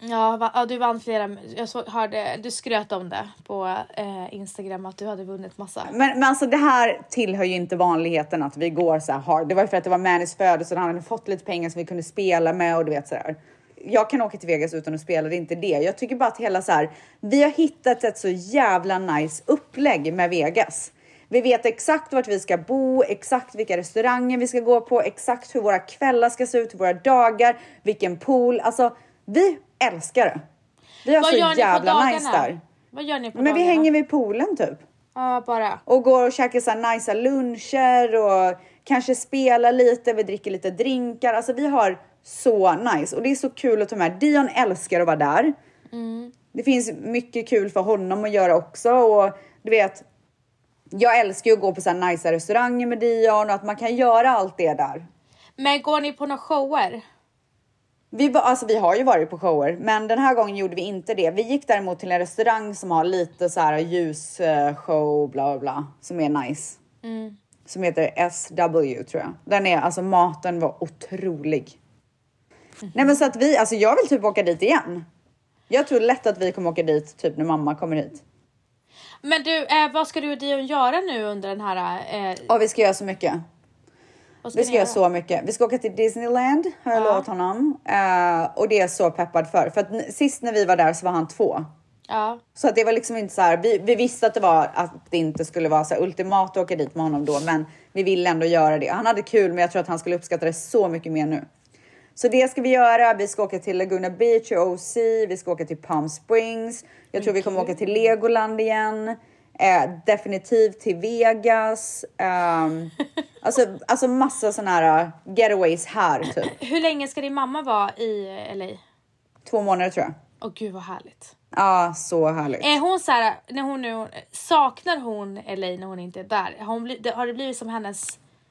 Speaker 1: Ja, va, ja, du vann flera. Jag så, hörde, du skröt om det på eh, Instagram att du hade vunnit massa.
Speaker 2: Men, men alltså det här tillhör ju inte vanligheten att vi går så här hard. Det var ju för att det var Mannys födelsedag och han hade fått lite pengar som vi kunde spela med och du vet sådär. Jag kan åka till Vegas utan att spela, det är inte det. Jag tycker bara att hela så här, vi har hittat ett så jävla nice upplägg med Vegas. Vi vet exakt vart vi ska bo, exakt vilka restauranger vi ska gå på, exakt hur våra kvällar ska se ut, hur våra dagar, vilken pool. Alltså, vi älskar det. Vi har
Speaker 1: Vad
Speaker 2: så
Speaker 1: gör ni på
Speaker 2: jävla
Speaker 1: dagarna?
Speaker 2: nice där.
Speaker 1: Vad gör ni på
Speaker 2: Men
Speaker 1: dagarna?
Speaker 2: vi hänger vid poolen typ.
Speaker 1: Ja, bara.
Speaker 2: Och går och käkar så här nice luncher och kanske spelar lite, vi dricker lite drinkar. Alltså vi har så nice och det är så kul att ta med. Dion älskar att vara där. Det finns mycket kul för honom att göra också och du vet, jag älskar ju att gå på så här nice restauranger med Dion och att man kan göra allt det där.
Speaker 1: Men går ni på några shower?
Speaker 2: Vi, var, alltså, vi har ju varit på shower, men den här gången gjorde vi inte det. Vi gick däremot till en restaurang som har lite så här ljusshow, bla bla bla, som är nice. Som heter SW tror jag. Den är, alltså maten var otrolig. Nej men så att vi, alltså jag vill typ åka dit igen. Jag tror lätt att vi kommer åka dit typ när mamma kommer hit.
Speaker 1: Men du, eh, vad ska du och Dion göra nu under den här... Eh,
Speaker 2: Ja vi ska göra så mycket.
Speaker 1: vad
Speaker 2: Vi
Speaker 1: ni
Speaker 2: ska göra så mycket. Vi ska åka till Disneyland har jag lovat honom. Eh, och det är jag så peppad för. För att n- sist när vi var där så var han två.
Speaker 1: Ja.
Speaker 2: Så att det var liksom inte så här, vi, vi visste att det var att det inte skulle vara så här ultimat att åka dit med honom då, men vi ville ändå göra det. Han hade kul, men jag tror att han skulle uppskatta det så mycket mer nu. Så det ska vi göra. Vi ska åka till Laguna Beach och OC. Vi ska åka till Palm Springs. Jag tror vi kommer åka till Legoland igen. Eh, definitivt till Vegas. Ehm, alltså, alltså massa sådana här getaways här typ.
Speaker 1: Hur länge ska din mamma vara i eh, LA?
Speaker 2: Två månader tror jag.
Speaker 1: Åh gud vad härligt.
Speaker 2: Ja, ah, så härligt.
Speaker 1: Är hon så här, när hon nu, saknar hon LA när hon inte är där? Har, hon bli, det- har det blivit som hennes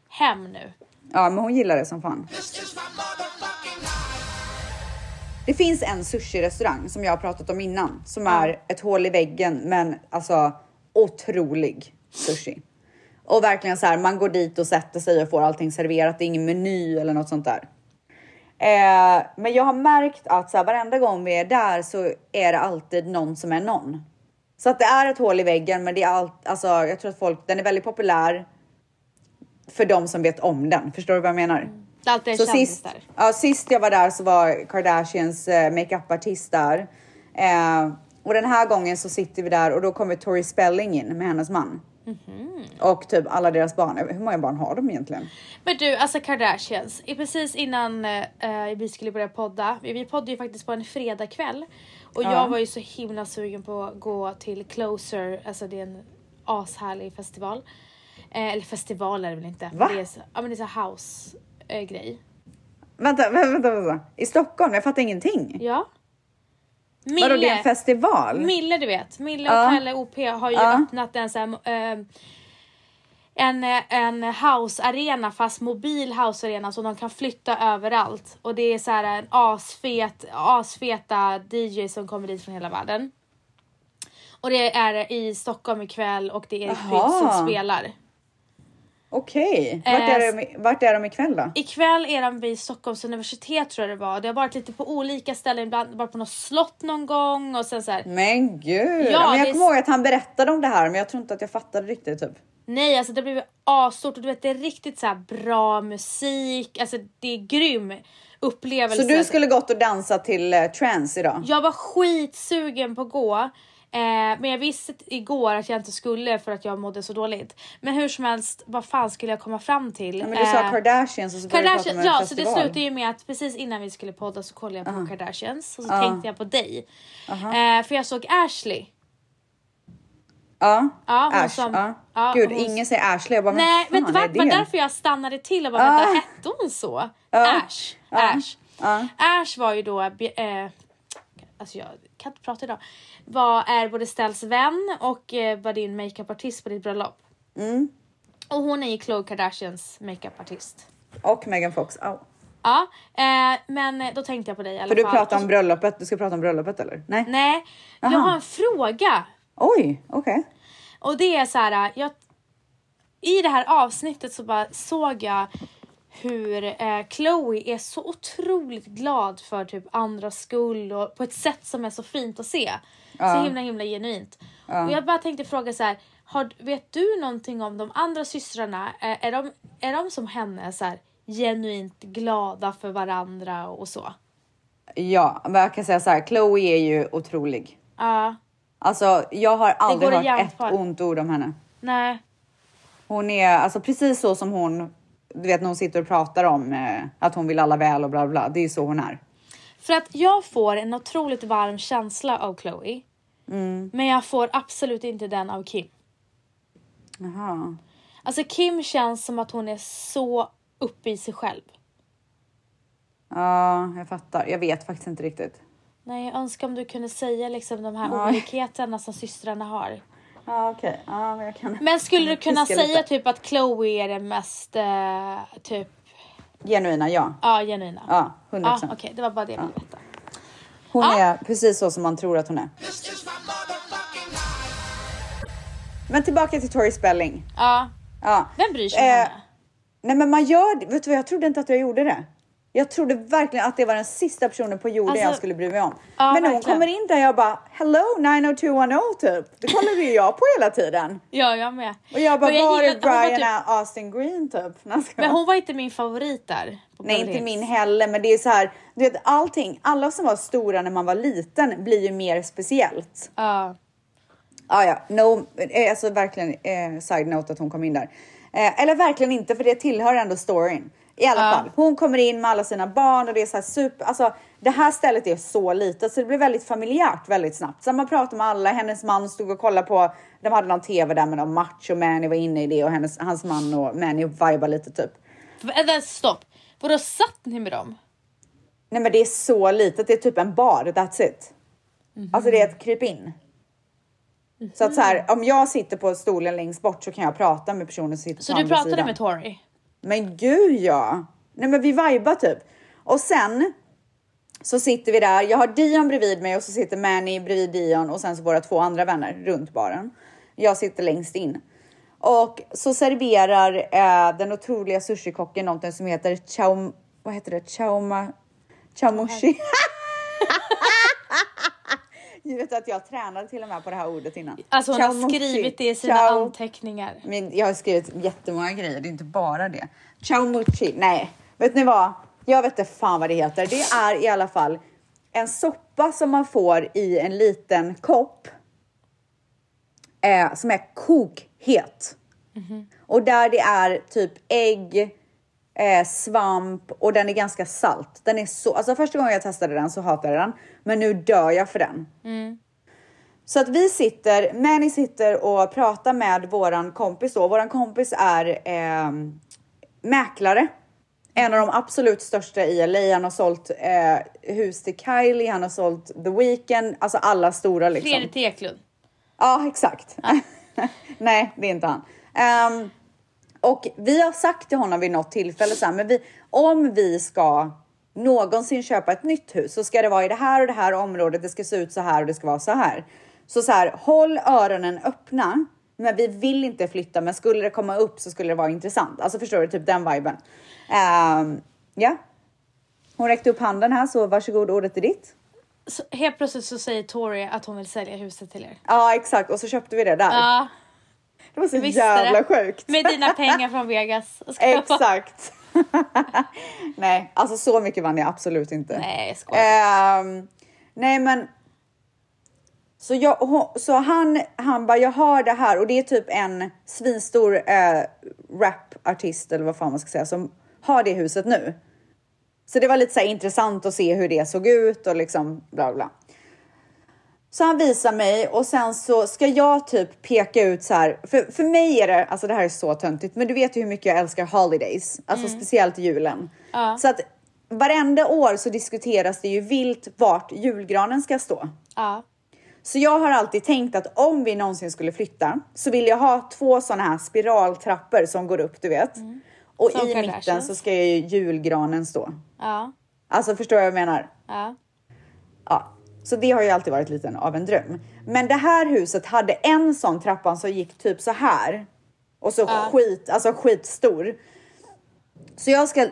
Speaker 1: hem nu?
Speaker 2: Ja, men hon gillar det som fan. Det finns en sushi-restaurang som jag har pratat om innan som är ett hål i väggen men alltså otrolig sushi. Och verkligen så här, man går dit och sätter sig och får allting serverat. Det är ingen meny eller något sånt där. Eh, men jag har märkt att så här, varenda gång vi är där så är det alltid någon som är någon. Så att det är ett hål i väggen, men det är allt, alltså, jag tror att folk, den är väldigt populär för de som vet om den. Förstår du vad jag menar?
Speaker 1: Det är alltid en
Speaker 2: Så
Speaker 1: kändis
Speaker 2: sist,
Speaker 1: där.
Speaker 2: ja, sist jag var där så var Kardashians eh, makeupartist där. Eh, och den här gången så sitter vi där och då kommer Tori Spelling in med hennes man.
Speaker 1: Mhm.
Speaker 2: Och typ alla deras barn. Hur många barn har de egentligen?
Speaker 1: Men du, alltså Kardashians. i- Precis innan eh, vi skulle börja podda, vi vi poddade ju faktiskt på en fredagkväll. Och jag var ju så himla sugen på att gå till Closer, alltså det är en ashärlig festival. Eh, eller festival är det väl inte?
Speaker 2: Va?
Speaker 1: Det är så, ja men det är så eh, house-grej.
Speaker 2: Vänta, vänta, vänta, vänta. I Stockholm? Jag fattar ingenting.
Speaker 1: ja. Mille,
Speaker 2: Vadå, det är en festival?
Speaker 1: Mille du vet, Mille och
Speaker 2: Ja.
Speaker 1: Kalle OP har ju
Speaker 2: Ja.
Speaker 1: öppnat en sån här, eh, en, eh, en house-arena fast mobil house-arena som de kan flytta överallt. Och det är så här en asfet, asfeta DJ som kommer dit från hela världen. Och det är i Stockholm ikväll och det är Erik
Speaker 2: Jaha.
Speaker 1: Prydz som spelar.
Speaker 2: Okej. Vart, är
Speaker 1: Eh,
Speaker 2: de i- vart är de ikväll då?
Speaker 1: Ikväll är de vid Stockholms universitet tror jag det var. Det har varit lite på olika ställen, ibland var på något slott någon gång och sen så här.
Speaker 2: Men gud.
Speaker 1: Ja,
Speaker 2: men jag
Speaker 1: det är
Speaker 2: kommer ihåg att han berättade om det här men jag tror inte att jag fattade riktigt typ.
Speaker 1: Nej, alltså det blev asstort och du vet det är riktigt så här bra musik, alltså det är grym upplevelse.
Speaker 2: Så du skulle gått och dansa till eh, trance idag?
Speaker 1: Jag var skitsugen på att gå. Eh, men jag visste t- igår att jag inte skulle för att jag mådde så dåligt. Men hur som helst, vad fan skulle jag komma fram till?
Speaker 2: Men du sa
Speaker 1: Eh,
Speaker 2: Kardashians och så började du prata om
Speaker 1: Kardashians,
Speaker 2: en
Speaker 1: ja så det
Speaker 2: festival.
Speaker 1: slutade ju med att precis innan vi skulle podda så kollade jag på Kardashians och så tänkte jag på dig. Eh, för jag såg Ashley.
Speaker 2: Ja,
Speaker 1: Ja, hon
Speaker 2: Ash.
Speaker 1: som-
Speaker 2: ja.
Speaker 1: ja,
Speaker 2: Gud,
Speaker 1: hon-
Speaker 2: ingen säger Ashley. Jag bara,
Speaker 1: Nej,
Speaker 2: men
Speaker 1: vet du
Speaker 2: fan
Speaker 1: vad?
Speaker 2: är
Speaker 1: Det var
Speaker 2: det?
Speaker 1: därför jag stannade till och bara
Speaker 2: Ah.
Speaker 1: vänta, hette hon så? Ash. Ash.
Speaker 2: Ja.
Speaker 1: Ash var ju då, eh, alltså jag kan inte prata idag, var, är både Stells vän och eh, var din makeupartist på ditt bröllop.
Speaker 2: Mm.
Speaker 1: Och hon är ju Khloe Kardashians makeupartist.
Speaker 2: Och Megan Fox. Au.
Speaker 1: Ja, eh, men då tänkte jag på dig i alla
Speaker 2: För du
Speaker 1: fall.
Speaker 2: pratar om bröllopet. Du ska prata om bröllopet eller? Nej.
Speaker 1: Nej, jag har en fråga.
Speaker 2: Oj, okej.
Speaker 1: äh, Och det är så här, jag, i det här avsnittet så bara såg jag hur eh, Chloe är så otroligt glad för typ andras skull och på ett sätt som är så fint att se. Så himla himla genuint. Och jag bara tänkte fråga så här, har, vet du någonting om de andra systrarna? Eh, är, de, är de som henne så här, genuint glada för varandra och så?
Speaker 2: Ja, men jag kan säga så här. Chloe är ju otrolig.
Speaker 1: Ja,
Speaker 2: Alltså, jag har aldrig
Speaker 1: går
Speaker 2: hört
Speaker 1: jämnt
Speaker 2: ett
Speaker 1: för.
Speaker 2: ont ord om henne.
Speaker 1: nej.
Speaker 2: Hon är alltså precis så som hon, du vet när hon sitter och pratar om eh, att hon vill alla väl och bla bla. Det är så hon är.
Speaker 1: För att jag får en otroligt varm känsla av Chloe. Men jag får absolut inte den av Kim.
Speaker 2: Jaha.
Speaker 1: Alltså Kim känns som att hon är så uppe i sig själv.
Speaker 2: Ja, jag fattar. Jag vet faktiskt inte riktigt.
Speaker 1: Nej, jag önskar om du kunde säga liksom de här
Speaker 2: Nej.
Speaker 1: olikheterna som systrarna har.
Speaker 2: Ja, okej. Ja, men jag kan.
Speaker 1: Men skulle du kunna
Speaker 2: Fiska Mm, lite.
Speaker 1: säga typ att Chloe är den mest eh, typ,
Speaker 2: Genuina, ja.
Speaker 1: ja genuina?
Speaker 2: Ja,
Speaker 1: Ja,
Speaker 2: 100
Speaker 1: okej, det var bara det jag ville veta.
Speaker 2: Hon
Speaker 1: Ja.
Speaker 2: är precis så som man tror att hon är.
Speaker 4: This is my motherfucking life.
Speaker 2: Men tillbaka till Tori Spelling.
Speaker 1: Ja,
Speaker 2: Ja.
Speaker 1: vem bryr sig om
Speaker 2: Eh,
Speaker 1: henne?
Speaker 2: Nej, men man gör det. Vet du vad, jag trodde inte att jag gjorde det. Jag trodde verkligen att det var den sista personen på jorden
Speaker 1: Alltså-
Speaker 2: jag skulle bry mig om.
Speaker 1: Ja,
Speaker 2: men när hon
Speaker 1: verkligen.
Speaker 2: kommer in där jag bara hello 90210 typ. Det kollade ju jag på hela tiden.
Speaker 1: Ja, jag med.
Speaker 2: Och jag bara
Speaker 1: Men jag
Speaker 2: var är
Speaker 1: gillade- hon var
Speaker 2: Brian
Speaker 1: typ-
Speaker 2: Austin Green typ? När jag ska-
Speaker 1: Men hon var inte min favorit där. på
Speaker 2: Nej,
Speaker 1: Beverly
Speaker 2: inte
Speaker 1: Hills.
Speaker 2: min heller, men det är så här, du vet allting, alla som var stora när man var liten blir ju mer speciellt.
Speaker 1: Ja.
Speaker 2: Ah, ja, no, eh, alltså verkligen eh, side note att hon kom in där. Eh, eller verkligen inte, för det tillhör ändå storyn. I alla
Speaker 1: Ja.
Speaker 2: fall, hon kommer in med alla sina barn och det är så här super, alltså det här stället är så litet så det blir väldigt familjärt väldigt snabbt. Så man pratar med alla, hennes man stod och kollade på, de hade någon tv där med någon match och Manny var inne i det och hennes, hans man och Manny vibade lite typ.
Speaker 1: eh, Vänta, stopp. Vadå, satt ni med dem?
Speaker 2: Nej men det är så litet, det är typ en bar, that's it. Alltså det är ett kryp in. Så att så här, om jag sitter på stolen längst bort så kan jag prata med personen som sitter
Speaker 1: Så
Speaker 2: på
Speaker 1: du
Speaker 2: andra
Speaker 1: pratade
Speaker 2: sidan.
Speaker 1: med Tori?
Speaker 2: Men gud ja! Nej men vi vibar typ. Och sen så sitter vi där, jag har Dion bredvid mig och så sitter Manny bredvid Dion och sen så våra två andra vänner runt baren. Jag sitter längst in. Och så serverar eh, den otroliga sushikocken någonting som heter chaum... Vad heter det? Chauma... Chamushi. Du vet att jag tränade till och med på det här ordet innan.
Speaker 1: Alltså hon har
Speaker 2: Chaumushi.
Speaker 1: skrivit det i sina
Speaker 2: Chau-
Speaker 1: anteckningar.
Speaker 2: men jag har skrivit jättemånga grejer, det är inte bara det. Chaumuchi, nej. Vet ni vad? Jag vet inte fan vad det heter. Det är i alla fall en soppa som man får i en liten kopp. Eh, som är kokhet. Och där det är typ ägg, eh, svamp och den är ganska salt. Den är så, alltså första gången jag testade den så hatade jag den. Men nu dör jag för den. Så att vi sitter, Manny sitter och pratar med våran kompis då. Våran kompis är eh, mäklare. En av de absolut största i LA. Han har sålt eh, hus till Kylie, han har sålt The Weeknd, alltså alla stora liksom.
Speaker 1: Fredrik Eklund.
Speaker 2: Ja, exakt. Nej, det är inte han. Ehm, och vi har sagt till honom vid något tillfälle så här, men vi, om vi ska någonsin köpa ett nytt hus så ska det vara i det här och det här området. Det ska se ut så här och det ska vara så här. Så så här, håll öronen öppna. Men vi vill inte flytta, men skulle det komma upp så skulle det vara intressant. Alltså förstår du, typ den viben. Ehm, Ja. Hon räckte upp handen här, så varsågod, ordet är ditt.
Speaker 1: Så helt plötsligt så säger Tori att hon vill sälja huset till er.
Speaker 2: Ja, exakt. Och så köpte vi det där.
Speaker 1: Ja,
Speaker 2: det var så
Speaker 1: visste
Speaker 2: jävla
Speaker 1: det.
Speaker 2: sjukt.
Speaker 1: Med dina pengar från Vegas. Ska jag bara-
Speaker 2: Exakt. nej, alltså så mycket vann jag absolut inte.
Speaker 1: Nej, jag skojar.
Speaker 2: Ehm, nej men. Så, jag, hon- så han, han bara, jag har det här och det är typ en svinstor eh, rapartist eller vad fan man ska säga som har det huset nu. Så det var lite så här intressant att se hur det såg ut och liksom bla bla. Så han visar mig och sen så ska jag typ peka ut så här. För, för mig är det, alltså det här är så töntigt, men du vet ju hur mycket jag älskar holidays, alltså
Speaker 1: Mm.
Speaker 2: speciellt julen. Så att varenda år så diskuteras det ju vilt vart julgranen ska stå.
Speaker 1: Ja.
Speaker 2: Så jag har alltid tänkt att om vi någonsin skulle flytta så vill jag ha två sådana här spiraltrappor som går upp, du vet. Och
Speaker 1: Mm. Som
Speaker 2: i
Speaker 1: Kardashians.
Speaker 2: mitten så ska ju julgranen stå.
Speaker 1: Ja.
Speaker 2: Alltså förstår jag vad jag menar?
Speaker 1: Ja.
Speaker 2: Ja, så det har ju alltid varit lite av en dröm. Men det här huset hade en sån trappa som gick typ så här. Och så skit, alltså skitstor. Så jag ska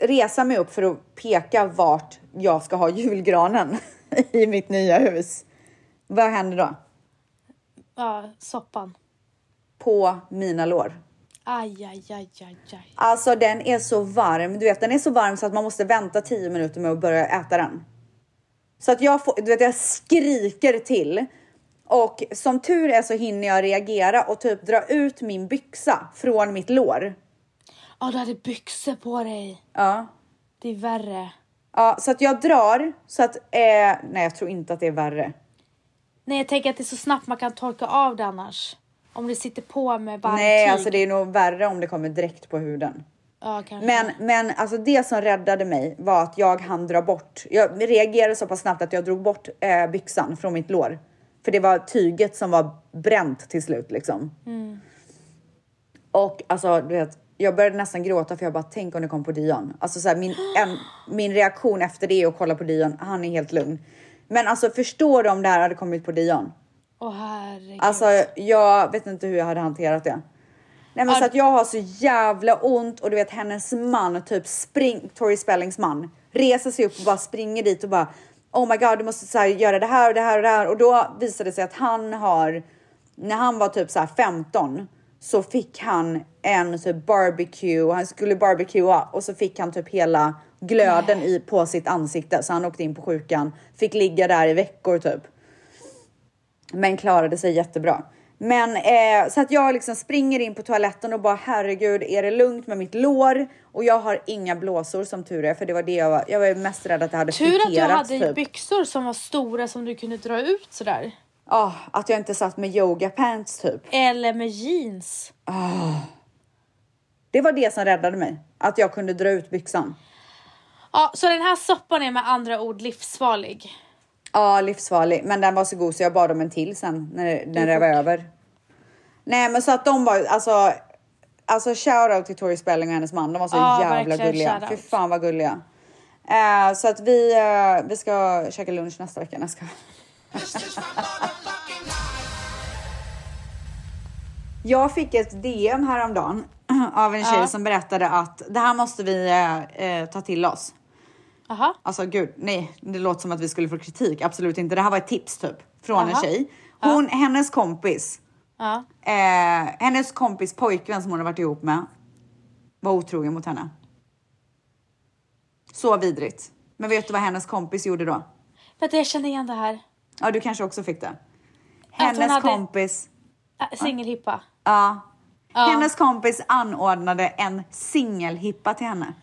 Speaker 2: resa mig upp för att peka vart jag ska ha julgranen i mitt nya hus. Vad händer då?
Speaker 1: Ja, soppan.
Speaker 2: På mina lår.
Speaker 1: Aj, aj, aj, aj, aj.
Speaker 2: Alltså den är så varm. Du vet, den är så varm så att man måste vänta 10 minuter med att börja äta den. Så att jag, får, du vet, jag skriker till. Och som tur är så hinner jag reagera och typ dra ut min byxa från mitt lår.
Speaker 1: Ja, du hade byxor på dig.
Speaker 2: Ja.
Speaker 1: Det är värre.
Speaker 2: Ja, så att jag drar så att... Eh, nej, jag tror inte att det är värre.
Speaker 1: Nej, jag tänker att det är så snabbt man kan torka av det annars. Om det sitter på med varmt
Speaker 2: nej,
Speaker 1: tyg.
Speaker 2: alltså det är nog värre om det kommer direkt på huden.
Speaker 1: Ja, kanske.
Speaker 2: Men, men alltså det som räddade mig var att jag hann dra bort. Jag reagerade så pass snabbt att jag drog bort eh, byxan från mitt lår. För det var tyget som var bränt till slut liksom. Och alltså, du vet, jag började nästan gråta för jag bara tänk om det kom på Dion. Alltså så här, min, en, min reaktion efter det är att kolla på Dion. Han är helt lugn. Men alltså förstår du om det här hade kommit på Dion?
Speaker 1: Åh herregud.
Speaker 2: Alltså, jag vet inte hur jag hade hanterat det. Nej, men
Speaker 1: Ja,
Speaker 2: så att jag har så jävla ont och du vet hennes man, typ spring, Tori Spellings man, reser sig upp och bara springer dit och bara Oh my god, du måste så här, göra det här och det här och det här. Och då visade det sig att han har, när han var typ så här 15 så fick han en typ barbecue, han skulle barbecua och så fick han typ hela glöden i, på sitt ansikte. Så han åkte in på sjukan, fick ligga där i veckor typ men klarade sig jättebra. Men eh, så att jag liksom springer in på toaletten och bara herregud, är det lugnt med mitt lår? Och jag har inga blåsor som tur är, för det var det jag var. Jag var ju mest rädd att det hade
Speaker 1: Tur att du
Speaker 2: friterats,
Speaker 1: hade
Speaker 2: typ.
Speaker 1: byxor som var stora som du kunde dra ut sådär.
Speaker 2: Ah, att jag inte satt med yoga pants typ.
Speaker 1: Eller med jeans.
Speaker 2: Det var det som räddade mig, att jag kunde dra ut byxan. Ja,
Speaker 1: Ja, så den här soppan är med andra ord livsfarlig.
Speaker 2: livsfarlig, men den var så god så jag bad om en till sen när, när det var över. Nej, men så att de var alltså. Alltså shoutout till Tori Spelling och hennes man. De var så
Speaker 1: Ja,
Speaker 2: jävla
Speaker 1: verkligen
Speaker 2: gulliga.
Speaker 1: shoutout.
Speaker 2: Fy fan vad gulliga. Eh, så att vi, eh, vi ska käka lunch nästa vecka. Nej, jag skojar.
Speaker 4: This is my motherfucking life.
Speaker 2: Jag fick ett DM häromdagen av en tjej
Speaker 1: Ja.
Speaker 2: som berättade att det här måste vi eh, eh, ta till oss.
Speaker 1: Aha.
Speaker 2: Alltså gud, nej, det låter som att vi skulle få kritik. Absolut inte. Det här var ett tips typ från en
Speaker 1: Aha.
Speaker 2: tjej. Hon, hennes kompis,
Speaker 1: Ja.
Speaker 2: eh, hennes kompis pojkvän som hon har varit ihop med var otrogen mot henne. Så vidrigt. Men vet du vad hennes kompis gjorde då?
Speaker 1: Vänta, jag känner igen det här. Äh,
Speaker 2: Ja, du kanske också fick det.
Speaker 1: hon
Speaker 2: Hennes
Speaker 1: hade-
Speaker 2: kompis,
Speaker 1: Äh, Singelhippa.
Speaker 2: ja.
Speaker 1: Ja.
Speaker 2: Hennes kompis anordnade en singelhippa till henne.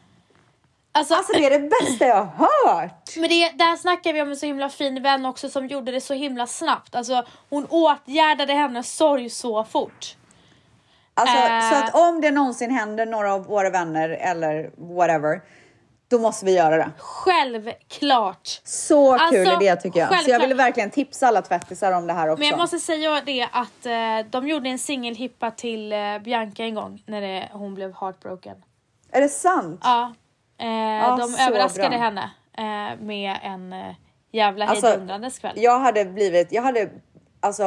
Speaker 1: Alltså,
Speaker 2: Alltså det är det bästa jag har hört!
Speaker 1: men det, där snackar vi om en så himla fin vän också som gjorde det så himla snabbt. Alltså, hon åtgärdade hennes sorg så fort.
Speaker 2: Alltså,
Speaker 1: Äh.
Speaker 2: Så att om det någonsin händer några av våra vänner eller whatever, då måste vi göra det.
Speaker 1: Självklart.
Speaker 2: Så kul
Speaker 1: Alltså,
Speaker 2: idé tycker jag. Så jag
Speaker 1: självklart.
Speaker 2: ville verkligen tipsa alla tvättisar om det här också.
Speaker 1: Men jag måste säga det att eh, de gjorde en singelhippa till eh, Bianca en gång när det, hon blev heartbroken.
Speaker 2: Är det sant?
Speaker 1: Ja. Eh, de
Speaker 2: så
Speaker 1: överraskade
Speaker 2: bra.
Speaker 1: henne eh, med en eh, jävla
Speaker 2: Alltså,
Speaker 1: hejdundrandes kväll.
Speaker 2: Jag hade blivit, jag hade alltså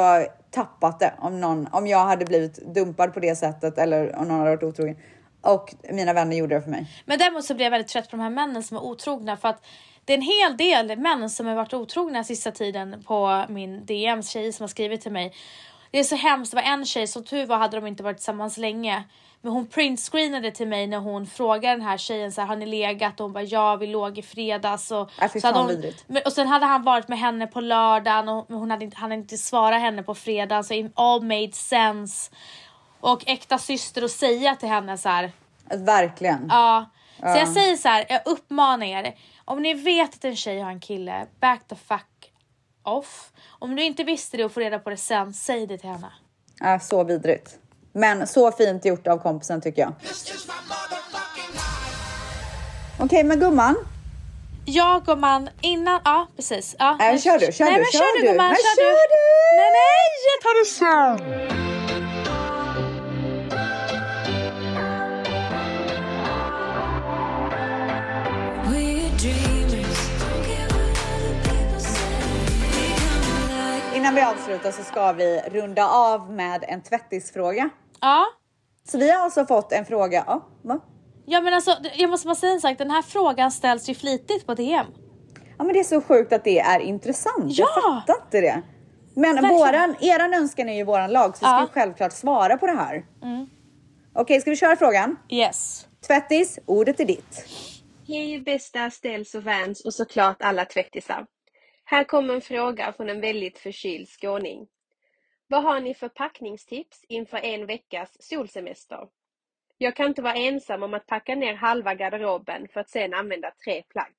Speaker 2: tappat det om någon, om jag hade blivit dumpad på det sättet eller om någon hade varit otrogen. Och mina vänner gjorde det för mig.
Speaker 1: Men däremot så blev jag väldigt trött på de här männen som är otrogna för att det är en hel del män som har varit otrogna sista tiden på min DMs tjej som har skrivit till mig. Det är så hemskt, det var en tjej, som tur var hade de inte varit tillsammans länge. Men hon printscreenade till mig när hon frågade den här tjejen så här, har ni legat? Och hon bara ja, vi låg i fredags. Och,
Speaker 2: Äh, fy
Speaker 1: så hade
Speaker 2: fan,
Speaker 1: hon,
Speaker 2: vidrigt.
Speaker 1: men- och sen hade han varit med henne på lördagen och hon hade inte, han hade inte svarat henne på fredagen så it all made sense. Och äkta syster att säga till henne så här,
Speaker 2: Verkligen.
Speaker 1: Ja. Så jag säger så här, jag uppmanar er. Om ni vet att en tjej har en kille, back the fuck off. Om du inte visste det och får reda på det sen, säg det till henne.
Speaker 2: Äh, så vidrigt. Men så fint gjort av kompisen tycker jag.
Speaker 4: This is my motherfucking life.
Speaker 2: Okej, men gumman.
Speaker 1: Jag och man innan, ja precis. Ja,
Speaker 2: Äh, kör du, kör
Speaker 1: nej,
Speaker 2: du,
Speaker 1: men kör du gumman,
Speaker 2: Men
Speaker 1: kör, du.
Speaker 2: du.
Speaker 1: Nej, nej, jag tar det sen.
Speaker 3: We're dreamers. Don't care what other people say. We come alive.
Speaker 2: Innan vi avslutar så ska vi runda av med en tvättisfråga.
Speaker 1: Ja,
Speaker 2: Så vi har alltså fått en fråga. Ja, va?
Speaker 1: Ja men alltså, jag måste bara säga en sak. Den här frågan ställs ju flitigt på DM.
Speaker 2: Ja, men det är så sjukt att det är intressant.
Speaker 1: Ja!
Speaker 2: Jag fattar inte det. Men
Speaker 1: Verkligen.
Speaker 2: våran, eran önskan är ju våran lag, så vi
Speaker 1: Ja. Mm.
Speaker 2: ska ju självklart svara på det här. Okej, ska vi köra frågan?
Speaker 1: Yes.
Speaker 2: Tvättis, ordet är ditt.
Speaker 5: Hej bästa Ställs och Vans och såklart alla tvättisar. Här kommer en fråga från en väldigt förkyld skåning. Vad har ni för packningstips inför en veckas solsemester? Jag kan inte vara ensam om att packa ner halva garderoben för att sedan använda tre plagg.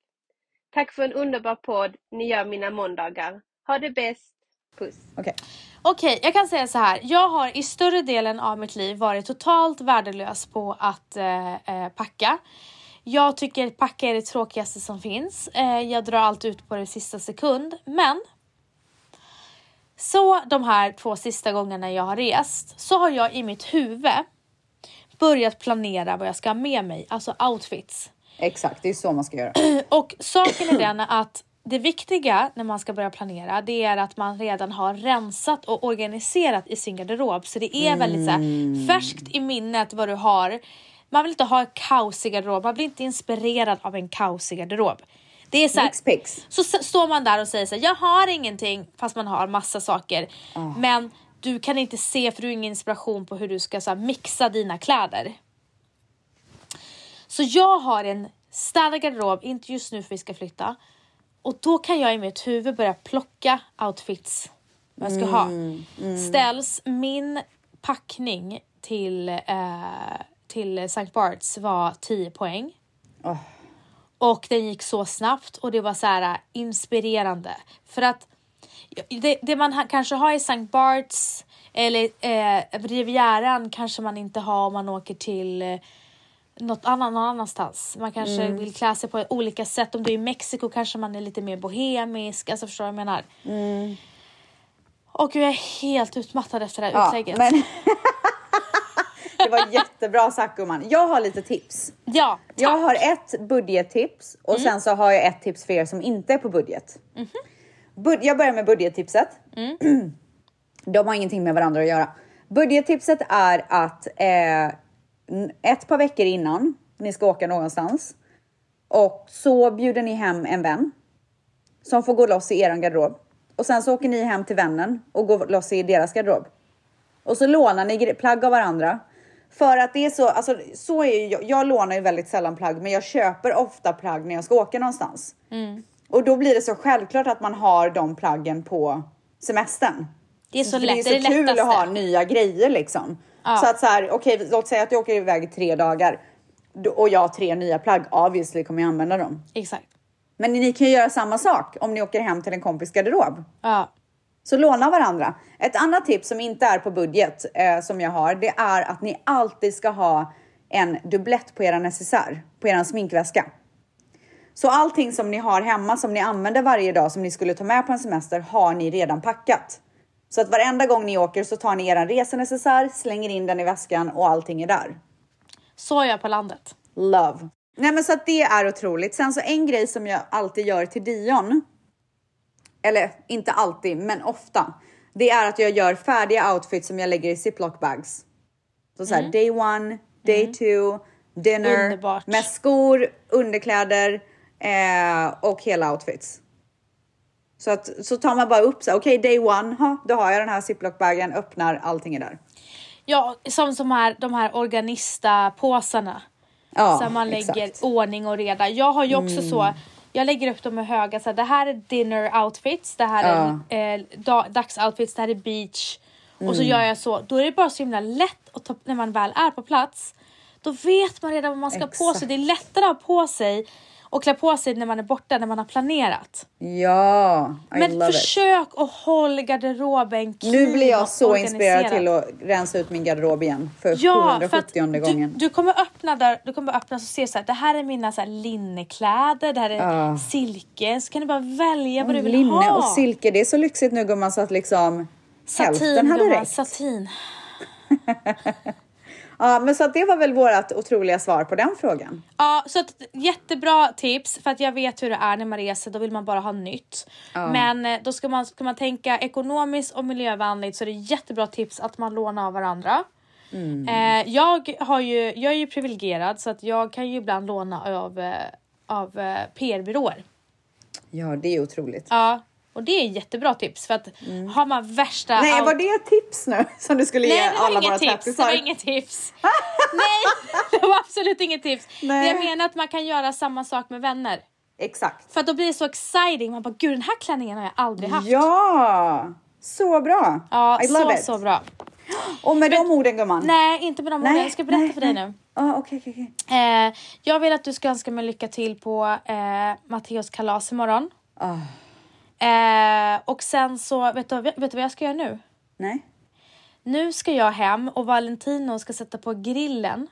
Speaker 5: Tack för en underbar podd. Ni gör mina måndagar. Ha det bäst. Puss.
Speaker 2: Okej.
Speaker 1: Okej, jag kan säga så här. Jag har i större delen av mitt liv varit totalt värdelös på att eh, eh, packa. Jag tycker packa är det tråkigaste som finns. Eh, jag drar allt ut på det sista sekund. Men så de här två sista gångerna jag har rest så har jag i mitt huvud börjat planera vad jag ska ha med mig, alltså outfits.
Speaker 2: Exakt, det är så man ska göra.
Speaker 1: Och saken är den att det viktiga när man ska börja planera det är att man redan har rensat och organiserat i sin garderob. Så det är väldigt så här, färskt i minnet vad du har. Man vill inte ha en kaosig garderob, man blir inte inspirerad av en kaosig garderob. Det är så här,
Speaker 2: Mix pix.
Speaker 1: så s- står man där och säger så här, jag har ingenting fast man har massa saker. Men du kan inte se för du har ingen inspiration på hur du ska så här, mixa dina kläder. Så jag har en städad garderob, inte just nu för vi ska flytta. Och då kan jag i mitt huvud börja plocka outfits. Vad jag ska ha. Ställs min packning till, eh, till St. Barts var 10 poäng.
Speaker 2: Åh.
Speaker 1: Och den gick så snabbt och det var så här äh, inspirerande. För att det, det man ha, kanske har i St. Barts eller eh, Rivieran kanske man inte har om man åker till eh, något annan, någon annanstans. Man kanske
Speaker 2: Mm.
Speaker 1: vill klä sig på olika sätt. Om du är i Mexiko kanske man är lite mer bohemisk. Alltså förstår du vad jag menar?
Speaker 2: Mm.
Speaker 1: Och gud, jag är helt utmattad efter det här
Speaker 2: Ja,
Speaker 1: utlägget.
Speaker 2: men... det var jättebra sagt gumman. Jag har lite tips.
Speaker 1: Ja, tack.
Speaker 2: Jag har ett budgettips och sen så har jag ett tips för er som inte är på budget. Bud- jag börjar med budgettipset. De har ingenting med varandra att göra. Budgettipset är att eh, n- ett par veckor innan ni ska åka någonstans och så bjuder ni hem en vän som får gå loss i er garderob och sen så åker ni hem till vännen och går loss i deras garderob. Och så lånar ni gre- plagg av varandra. För att det är så, alltså så är ju, jag, jag lånar ju väldigt sällan plagg, men jag köper ofta plagg när jag ska åka någonstans.
Speaker 1: Mm.
Speaker 2: Och då blir det så självklart att man har de plaggen på semestern.
Speaker 1: Det är så
Speaker 2: För
Speaker 1: lätt,
Speaker 2: Det är så
Speaker 1: det
Speaker 2: kul att
Speaker 1: lättaste.
Speaker 2: ha nya grejer liksom. Så att så här, okej, låt säga att jag åker iväg i tre dagar Då- och jag har tre nya plagg, obviously kommer jag använda dem.
Speaker 1: Exakt.
Speaker 2: Men ni kan ju göra samma sak om ni åker hem till en kompis garderob.
Speaker 1: Ja.
Speaker 2: Så låna varandra. Ett annat tips som inte är på budget eh, som jag har, det är att ni alltid ska ha en dubblett på era necessär, på er sminkväska. Så allting som ni har hemma som ni använder varje dag som ni skulle ta med på en semester har ni redan packat. Så att varenda gång ni åker så tar ni er resenecessär, slänger in den i väskan och allting är där.
Speaker 1: Så är jag på landet.
Speaker 2: Love. Nej men så att det är otroligt. Sen så en grej som jag alltid gör till Dion. Eller inte alltid, men ofta. Det är att jag gör färdiga outfits som jag lägger i ziploc bags. Så såhär day one, day two, dinner.
Speaker 1: Mm. Underbart.
Speaker 2: Med skor, underkläder eh, och hela outfits. Så, att, så tar man bara upp så här, okej day one, ha, då har jag den här ziploc bagen, öppnar, allting är där.
Speaker 1: Ja, som, som här, de här organista-påsarna.
Speaker 2: Ja,
Speaker 1: så man lägger
Speaker 2: exakt. Mm.
Speaker 1: ordning och reda. Jag har ju också så, jag lägger upp dem med höga, så här, det här är dinner outfits, det här är eh, dag, dagsoutfits, det här är beach. Och så
Speaker 2: Mm.
Speaker 1: gör jag så, då är det bara så himla lätt att ta, när man väl är på plats. Då vet man redan vad man ska ha på sig,
Speaker 2: Exakt.
Speaker 1: det är lättare att ha på sig och klä på sig när man är borta, när man har planerat.
Speaker 2: Ja, I
Speaker 1: Men
Speaker 2: love it.
Speaker 1: försök och håll garderoben clean
Speaker 2: Nu blir
Speaker 1: och
Speaker 2: jag så inspirerad
Speaker 1: organiserad.
Speaker 2: till att rensa ut min garderob igen för
Speaker 1: Ja, för att
Speaker 2: 770
Speaker 1: du,
Speaker 2: gången.
Speaker 1: du kommer öppna där, du kommer öppna och se så här, det här är mina så här linnekläder, det här är
Speaker 2: Ja.
Speaker 1: silke, så kan du bara välja vad du vill
Speaker 2: Linne
Speaker 1: ha.
Speaker 2: och silke, det är så lyxigt nu gumman så att liksom hälften
Speaker 1: satin,
Speaker 2: hade
Speaker 1: gumman,
Speaker 2: räckt.
Speaker 1: satin.
Speaker 2: Ja, men så att det var väl vårat otroliga svar på den frågan.
Speaker 1: Ja, så att, jättebra tips för att jag vet hur det är när man reser, då vill man bara ha nytt. Men eh, då ska man, ska man tänka ekonomiskt och miljövänligt så är det jättebra tips att man lånar av varandra.
Speaker 2: Mm.
Speaker 1: Eh, jag, har ju, jag är ju privilegierad så att jag kan ju ibland låna av, eh, av eh, PR-byråer.
Speaker 2: Ja, det är otroligt.
Speaker 1: Ja, och det är jättebra tips för att har man värsta...
Speaker 2: Mm. Nej,
Speaker 1: out-
Speaker 2: var det ett tips nu som du skulle ge
Speaker 1: Nej, det var
Speaker 2: alla våra
Speaker 1: inget tips. Det var
Speaker 2: tvättisar?
Speaker 1: inget tips. Nej, det var absolut inget tips.
Speaker 2: Nej.
Speaker 1: Jag menar att man kan göra samma sak med vänner.
Speaker 2: Exakt.
Speaker 1: För att då blir det så exciting. Man bara, gud den här klänningen har jag aldrig haft.
Speaker 2: Ja, så bra.
Speaker 1: Ja,
Speaker 2: I love
Speaker 1: så,
Speaker 2: it.
Speaker 1: så bra.
Speaker 2: Och med de orden gumman.
Speaker 1: Nej, inte med de orden.
Speaker 2: Nej,
Speaker 1: Jag ska berätta
Speaker 2: nej,
Speaker 1: för dig
Speaker 2: nej.
Speaker 1: nu.
Speaker 2: Ja, okej, okej, okej.
Speaker 1: Eh, jag vill att du ska önska mig lycka till på eh, Matteos kalas imorgon.
Speaker 2: Ah,
Speaker 1: Eh, och sen så, vet du, vet du vad jag ska göra nu?
Speaker 2: Nej.
Speaker 1: Nu ska jag hem och Valentino ska sätta på grillen.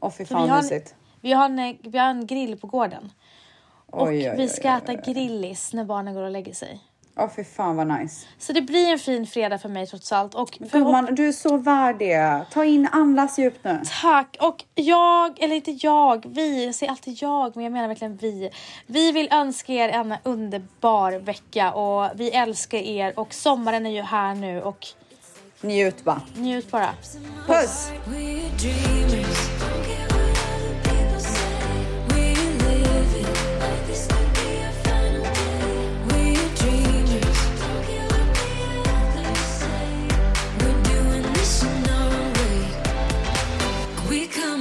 Speaker 2: Åh, fy
Speaker 1: För
Speaker 2: fan
Speaker 1: vi, har en,
Speaker 2: mysigt.
Speaker 1: vi, har en, eh, vi har en grill på gården.
Speaker 2: Oj,
Speaker 1: Och
Speaker 2: oj,
Speaker 1: vi
Speaker 2: oj,
Speaker 1: ska
Speaker 2: oj,
Speaker 1: äta grillis när barnen går och lägger sig.
Speaker 2: Åh, fy fan vad nice.
Speaker 1: Så det blir en fin fredag för mig trots allt. Och förhopp-
Speaker 2: Gumman, du är så värd det. Ta in, andas djupt nu.
Speaker 1: Tack! Och jag, eller inte jag, vi, jag säger alltid jag, men jag menar verkligen vi. Vi vill önska er en underbar vecka och vi älskar er och sommaren är ju här nu och
Speaker 2: Njut bara.
Speaker 1: njut bara.
Speaker 2: Puss!
Speaker 3: We're dreamers. Don't care what other people say. We're living like this could be our final day. We're dreamers. Don't care what the others say. We're doing this in our way. We come